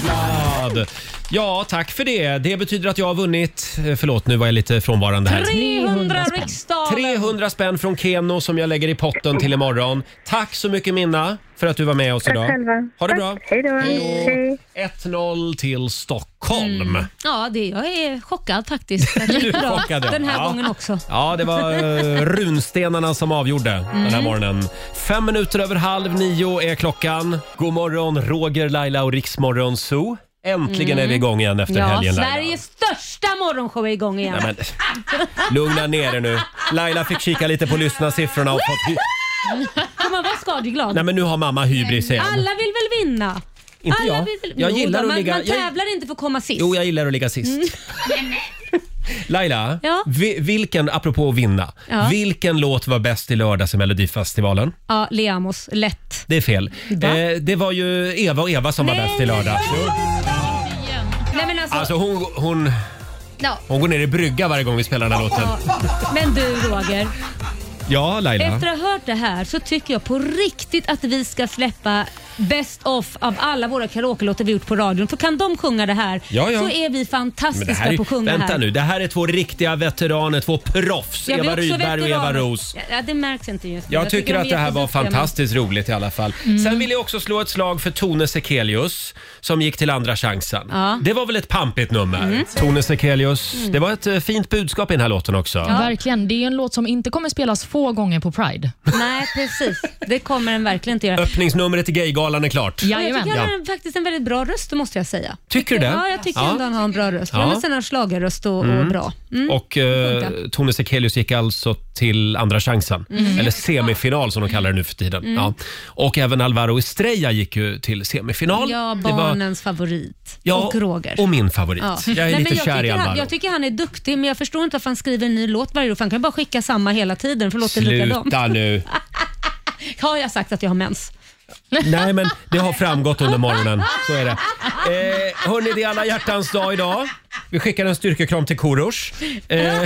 Glad. Ja, tack för det. Det betyder att jag har vunnit... eh, Förlåt, nu var jag lite frånvarande här.
300 riksdaler.
300 spänn från Keno som jag lägger i potten till imorgon. Tack så mycket Minna för att du var med oss
Tack
idag.
själva.
Ha det
Tack.
bra.
Hej då.
Hej. Mm.
1-0 till Stockholm.
Ja, det, jag är chockad faktiskt. Det gick
Du
bra.
chockade, ja.
Den här
Ja.
gången också.
Ja, det var eh, runstenarna som avgjorde den här
Mm.
morgonen. Fem minuter över halv nio är klockan. God morgon, Roger, Laila och Riksmorgon Zoo. Äntligen
Mm.
är vi igång igen efter
ja,
helgen, Laila.
Sveriges största morgonshow är igång igen.
Nej, men, lugna ner er nu. Laila fick kika lite på lyssnarsiffrorna och fått... hy-
Får man vara skadeglad?
Nej, men nu har mamma hybris igen.
Alla vill väl vinna?
Inte
Ah,
jag.
vill-
Jag
Jo
gillar
då,
att
man,
ligga...
Man
Jag,
tävlar inte för att komma sist.
jo, jag gillar att ligga sist.
Mm.
Laila,
Ja.
vi, vilken, apropå att vinna,
Ja.
vilken låt var bäst i lördags i Melodifestivalen?
Ja, Leamos. Lätt.
Det är fel.
Va?
Eh, det var ju Eva och Eva som var bäst i lördags.
Nej men alltså.
Alltså hon, hon,
ja.
hon går ner i brygga varje gång vi spelar den här låten.
Ja. Men du Roger,
Ja, Laila.
efter att ha hört det här så tycker jag på riktigt att vi ska släppa Best of av alla våra karaoke-låtar vi gjort på radion. För kan de sjunga det här
Ja, ja.
så är vi
Men
fantastiska
det här är,
på att sjunga
vänta
här.
nu, det här är två riktiga veteraner, två proffs.
Jag blir
Eva
också
Rydberg och
veteran.
Eva Roos.
Ja, Ja, det märks inte just nu.
Jag tycker
de
att
är
det här var
jätteduktiga, Mm. men-
fantastiskt roligt i alla fall. Sen vill jag också slå ett slag för Tone Sekelius som gick till Andra chansen.
Ja. Mm.
Det var väl ett pampigt nummer? Tone Sekelius. Det var ett eh, fint budskap i den här låten också.
Verkligen. Det är ju en låt som inte kommer spelas få gånger på Pride.
Nej, precis. Det kommer den verkligen inte göra.
Öppningsnumret till Gaygalan är klart.
Och Jag tycker han
Ja.
har faktiskt en väldigt bra röst, det måste jag säga.
Tycker du det?
Ja, jag tycker
Ja.
ändå han har en bra röst.
Ja.
Han har sina schlagerröst och, och
Mm.
bra. Mm.
Och eh,
funkar.
Tone Sekelius gick alltså till andra chansen,
Mm.
eller semifinal som de kallar det nu för tiden.
Mm.
Ja. Och även Alvaro Estrella gick ju till semifinal.
Ja,
Det var-
barnens favorit.
Ja,
och Roger.
och min favorit.
Ja.
Jag är
Nej, men
lite kär i
tycker han,
Alvaro.
Jag tycker han är duktig, men jag förstår inte varför han skriver en ny låt varje år. för Han kan bara skicka samma hela tiden, för låter likadant.
Sluta nu.
Har jag sagt att jag har mens?
Nej, men det har framgått under morgonen. Så är det. Eh, hörni, det är alla hjärtans dag idag. Vi skickar en styrkekram till Korosh. Eh,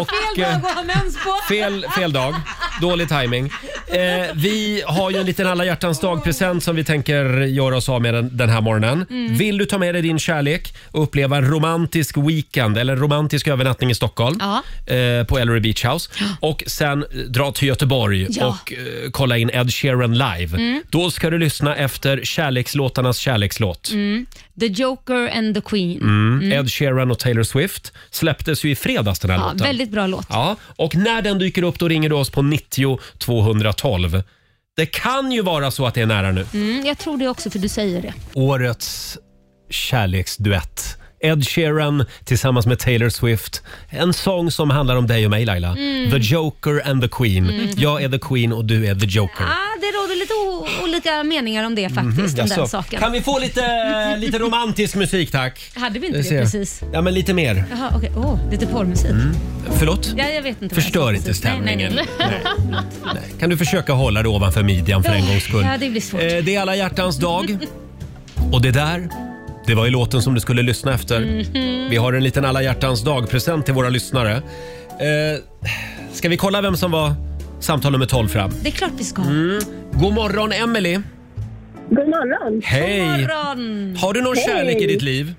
och, eh,
Fel dag att ha mens på.
Fel, fel dag. Dålig timing. Eh, vi har ju en liten alla hjärtans dag-present som vi tänker göra oss av med den, den här morgonen.
Mm.
Vill du ta med dig din kärlek och uppleva en romantisk weekend eller en romantisk övernattning i Stockholm eh, på Ellery Beach House och sen eh, dra till Göteborg
Ja.
och eh, kolla in Ed Sheeran live.
Mm.
Då ska du lyssna efter kärlekslåtarnas kärlekslåt.
Mm. The Joker and the Queen.
Mm.
Mm.
Ed Sheeran och Taylor Swift släpptes ju i fredags den här
Ja,
låten.
väldigt bra låt.
Ja, och när den dyker upp då ringer du oss på 90 212. Det kan ju vara så att det är nära nu.
Mm, jag tror det också, för du säger det.
Årets kärleksduett. Ed Sheeran tillsammans med Taylor Swift. En sång som handlar om dig och mig Laila.
Mm.
The Joker and the Queen.
Mm.
Jag är the Queen och du är the Joker.
Ah, det råder lite o- olika meningar om det faktiskt. om den
Jaså.
saken.
Mm, Kan vi få lite, lite romantisk musik tack?
Hade vi inte
Jag
det
ser.
precis?
Ja men lite mer.
Jaha, okej. Åh, lite porrmusik.
Förlåt?
Ja, jag vet inte. vad jag
Förstör
sa
inte
precis. Nej, nej,
stämningen.
nej.
Kan du försöka hålla det ovanför midjan för en gångs skull?
Ja, det blir svårt.
Eh, Det är alla hjärtans dag. Och det där, det var ju låten som du skulle lyssna efter.
Mhm.
Vi har en liten alla hjärtans dag-present till våra lyssnare. Eh, ska vi kolla vem som var samtal nummer 12 fram?
Det är klart vi ska.
Mm. God morgon Emelie.
God morgon.
Hej. God
morgon.
Har du någon
Hej.
kärlek i ditt liv?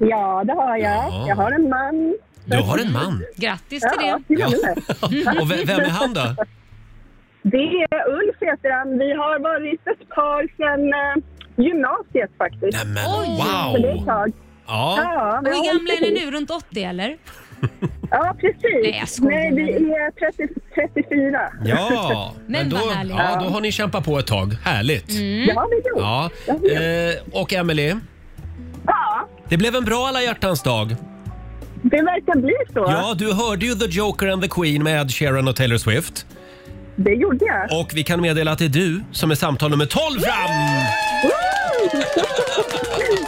Ja, det har jag.
Ja.
Jag har en man.
Du har en man.
Grattis
till ja, det. Ja.
Och ve- vem är han då?
Det är Ulf heter han. Vi har varit ett par sedan eh, gymnasiet faktiskt.
Nämen,
Oj. wow.
Så det är ett tag.
Ja.
Ja,
Och
vi har
hur gamla är ni
precis.
nu? Runt 80 eller?
Ja, precis.
Nej, jag skojar.
Nej, vi är 30, 34.
Ja,
Men
då,
vad härligt.
ja, då har ni kämpat på ett tag. Härligt.
Mm. Det har vi gjort.
Ja. Eh, och Emelie? Det blev en bra alla hjärtans dag.
Det verkar bli så.
Ja, du hörde ju The Joker and the Queen med Ed Sheeran och Taylor Swift.
Det gjorde jag.
Och vi kan meddela att det är du som är samtal nummer 12 fram!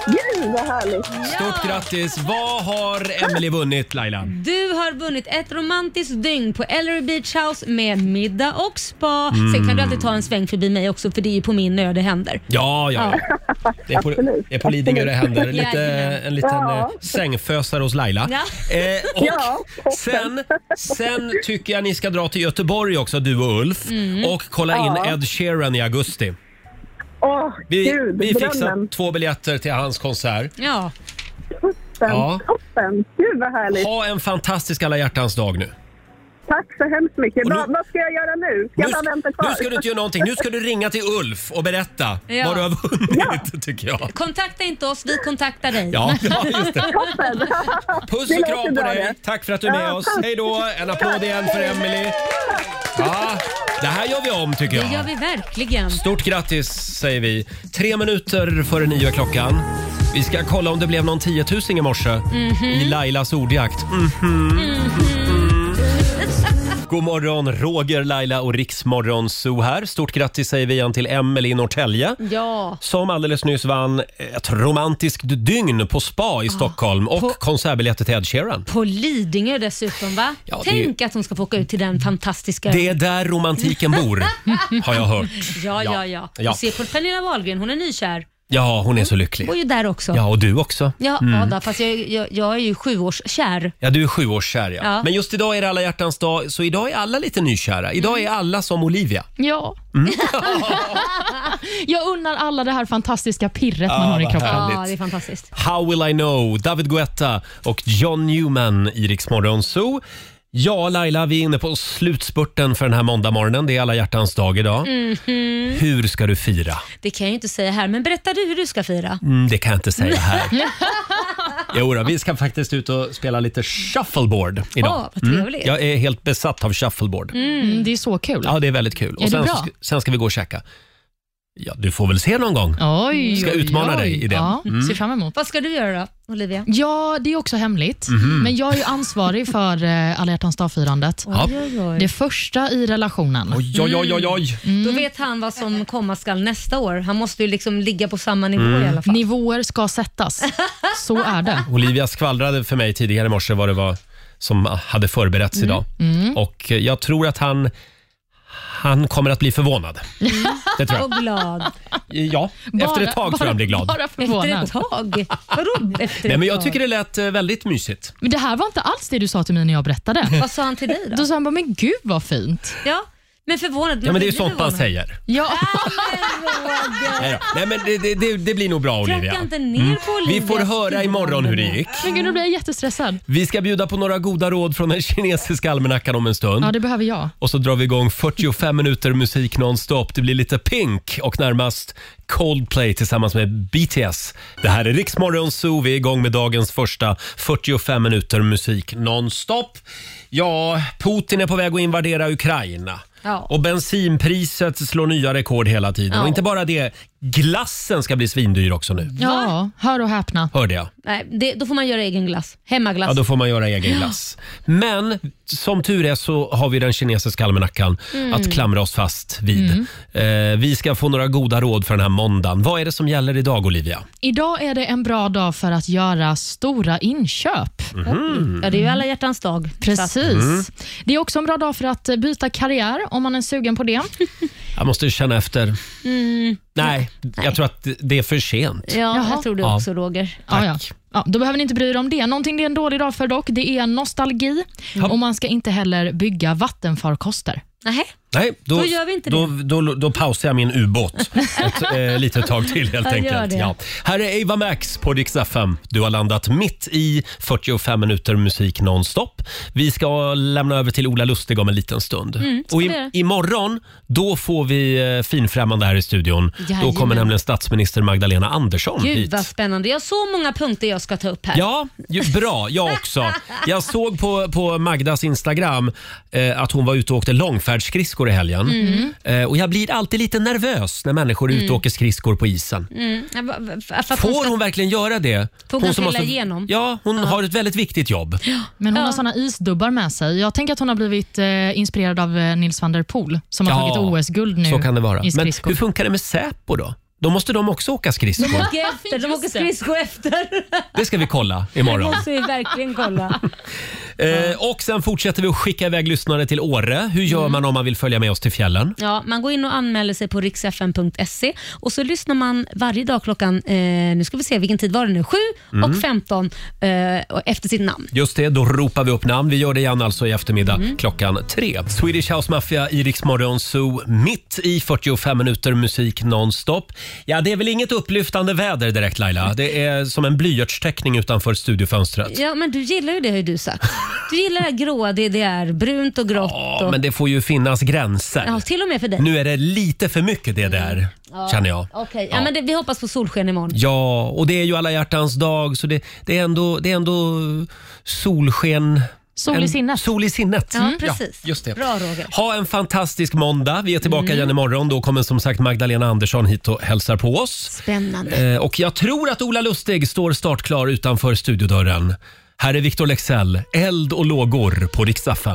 Gud, vad härligt.
Stort grattis! Vad har Emily vunnit Laila?
Du har vunnit ett romantiskt dygn på Ellery Beach House med middag och spa. Sen kan
Mm.
du alltid ta en sväng förbi mig också för det är ju på min ö det händer.
Ja, ja. Det är på,
Absolut,
det är på Lidingö det
absolut.
händer. Lite,
Jajamän.
en liten
Ja.
eh, sängfösare hos Laila.
Ja.
Eh, och
Ja,
sen, sen tycker jag ni ska dra till Göteborg också, du och Ulf,
Mm.
och kolla
Ja.
in Ed Sheeran i augusti.
Åh,
Vi,
Gud,
vi
drömmen.
fixar två biljetter till hans konsert.
Ja.
Ja.
Toppen. Gud, vad härligt.
Ha en fantastisk alla hjärtans dag nu.
Tack så hemskt mycket.
Och nu-
Vad- vad ska jag göra nu? Ska jag
Nu
bara
ska-
vänta kvar?
Nu ska du inte göra någonting. Nu ska du ringa till Ulf och berätta
Ja.
vad du har vunnit, tycker jag.
Kontakta inte oss, vi kontaktar dig.
Ja, ja, just det. Puss
Det
och
låter
kram på
bra
dig.
det.
Tack för att du är med
Ja,
oss.
tack.
Hej då. En applåd igen för Emelie. Ja, det här gör vi om tycker
Det gör
jag.
vi verkligen.
Stort grattis säger vi. Tre minuter före nio är klockan. Vi ska kolla om det blev någon tiotusing i morse
Mhm.
i Lailas ordjakt. Mhm. God morgon, Roger, Laila och Riksmorgon Zoo här. Stort grattis säger vi igen till Emelie i Norrtälje.
Ja.
Som alldeles nyss vann ett romantiskt dygn på spa i Stockholm och
på-
konsertbiljetter till Ed Sheeran.
På Lidingö dessutom va?
Ja, det är ju-
Tänk att hon ska få åka ut till den fantastiska...
Det är där romantiken bor, har jag hört.
Ja, ja, ja.
Ja.
Och se på Pernilla Wahlgren, hon är nykär.
Ja, hon är så lycklig.
Bor ju där också.
Ja, och du också.
Ja,
Mm.
Ada, fast jag, jag, jag är ju sjuårskär.
Ja, du är sjuårskär ja.
Ja.
Men just idag är det alla hjärtans dag, så idag är alla lite nykära. Idag
Mm.
är alla som Olivia.
Ja.
Mm.
jag unnar alla det här fantastiska pirret
Ah,
man har i
vad
kroppen.
härligt. Ja, det är
fantastiskt.
How will I know? David Guetta och John Newman i Rix Morgon Zoo. Ja, Laila, vi är inne på slutspurten för den här måndagmorgonen. Det är alla hjärtans dag idag.
Mhm.
Hur ska du fira?
Det kan jag ju inte säga här, men berätta du hur du ska fira.
Mm, det kan jag inte säga här. Jo, då, vi ska faktiskt ut och spela lite shuffleboard idag. Mm.
Åh, vad trevligt.
Jag är helt besatt av shuffleboard.
Mm, det är så kul.
Ja, det är väldigt kul.
Är
sen,
det
så
bra?
ska- sen ska vi gå och käka. Ja, du får väl se någon gång.
Oj,
ska
oj,
utmana
oj.
dig i det.
Ja,
Mm.
ser fram emot.
Vad ska du göra då, Olivia?
Ja, det är också hemligt.
Mhm.
Men jag är ju ansvarig för eh, alla hjärtans dag-firandet.
Ja.
Oj, oj.
Det första i relationen.
Oj, oj, oj, oj, oj.
Då vet han vad som komma skall nästa år. Han måste ju liksom ligga på samma nivå
Mm.
i alla fall.
Nivåer ska sättas. Så är det.
Olivia skvallrade för mig tidigare i morse vad det var som hade förberetts idag.
Mm.
Och eh, jag tror att han, han kommer att bli förvånad. Det tror jag.
Och glad.
Ja, efter ett tag tror jag han blir glad.
Efter ett tag? Vadå efter
Nej,
ett
men jag
tag?
tycker det lät eh, väldigt mysigt.
Men det här var inte alls det du sa till mig när jag berättade.
Mm.
Vad sa han till dig då?
Då sa han bara, men gud vad fint.
Ja, men förvånad.
Ja, men det är ju
blir
sånt man
förvånad.
säger.
Ja.
Ah.
Nej, då. Nej men det, det- det, det blir nog bra Olivia. Mm.
inte ner på
Vi får
Olivias
höra imorgon hur det gick.
Men gud, nu blir jag jättestressad.
Vi ska bjuda på några goda råd från den kinesiska almanackan om en stund.
Ja, det behöver jag.
Och så drar vi igång 45 minuter musik nonstop. Det blir lite Pink och närmast Coldplay tillsammans med BTS. Det här är Riksmorgon Zoo. Vi är igång med dagens första 45 minuter musik nonstop. Ja, Putin är på väg att invadera Ukraina.
Ja.
Och bensinpriset slår nya rekord hela tiden.
Ja.
Och inte bara det, glassen ska bli svindyr också nu.
Ja, hör och häpna.
Hörde jag.
Nej, det, då får man göra egen glass. Hemmaglass.
Ja, då får man göra egen glass. Men som tur är så har vi den kinesiska almanackan
Mm.
att klamra oss fast vid. Eh, vi ska få några goda råd för den här måndagen. Vad är det som gäller idag, Olivia?
Idag är det en bra dag för att göra stora inköp.
Mhm.
Ja, det är ju alla hjärtans dag.
Precis.
Mm.
Det är också en bra dag för att eh, byta karriär om man är sugen på det.
Jag måste känna efter.
Mm.
Nej, jag tror att det är för sent.
Ja, jag tror det också, Roger.
Ja, ja. Ja, då behöver ni inte bry er om det. Någonting det är en dålig dag för dock, det är nostalgi. Och man ska inte heller bygga vattenfarkoster.
Nej.
Nej, då,
Då gör vi inte
då, då, då, pausar jag min ubåt ett eh, litet tag till helt
Ja, gör
enkelt.
det.
Ja. Här är Eva Max på Dix FM. Du har landat mitt i 45 minuter musik nonstop. Vi ska lämna över till Ola Lustig om en liten stund.
Mm, ska
Och
vi göra.
i, imorgon, då får vi eh, finfrämmande här i studion. Då
Jajamän.
kommer nämligen statsminister Magdalena Andersson
Gud
hit.
vad spännande. Jag har så många punkter jag ska ta upp här.
Ja, ju, bra. Jag också. Jag såg på, på Magdas Instagram eh, att hon var ute och åkte långfärdsskridskor i helgen.
Mm.
Eh, och jag blir alltid lite nervös när människor är ute och
Mm.
åker skridskor på isen.
Mm. Ja, va- va- För att hon
Får
ska-
hon verkligen göra det?
Får hon trilla igenom?
Ja, hon har ett väldigt viktigt jobb.
Men hon har såna isdubbar med sig. Jag tänker att hon har blivit eh, inspirerad av eh, Nils van der Poel som har
Ja,
tagit OS-guld nu
Så kan det vara.
i
Men
skridskor.
hur funkar det med Säpo då? Då måste de också åka skridskor.
De åker efter. De åker skridskor efter.
Det ska vi kolla
Det
imorgon.
måste vi verkligen kolla.
Eh, och sen fortsätter vi att skicka iväg lyssnare till Åre. Hur gör
Mm.
man om man vill följa med oss till fjällen?
Ja, man går in och anmäler sig på riksfn.se och så lyssnar man varje dag klockan, eh, nu ska vi se vilken tid var det nu, 7
Mm.
och 15 eh, och efter sitt namn.
Just det, då ropar vi upp namn. Vi gör det igen alltså i eftermiddag
Mm.
klockan tre. Swedish House Mafia, Iriks Morgon Zoo, mitt i 45 minuter musik nonstop. Ja, det är väl inget upplyftande väder direkt Laila? Det är som en blyertsteckning utanför studiofönstret.
Ja, men du gillar ju det har ju du sagt. Du gillar det här gråa, det, det är brunt och grått.
Ja,
och,
men det får ju finnas gränser.
ja, till och med för dig.
Nu är det lite för mycket det där,
Ja,
känner jag.
Okej, ja, men det, vi hoppas på solsken imorgon.
Ja, och det är ju alla hjärtans dag så det, det, är, ändå, det är ändå solsken.
Sol i
en-
sinnet.
Sol i sinnet. Mm.
Ja, precis.
just det.
Bra Roger.
Ha en fantastisk måndag. Vi är tillbaka
Mm.
igen imorgon. Då kommer som sagt Magdalena Andersson hit och hälsar på oss.
Spännande.
Eh, och jag tror att Ola Lustig står startklar utanför studiodörren. Här är Victor Lexell, Eld och lågor på riksdag 5.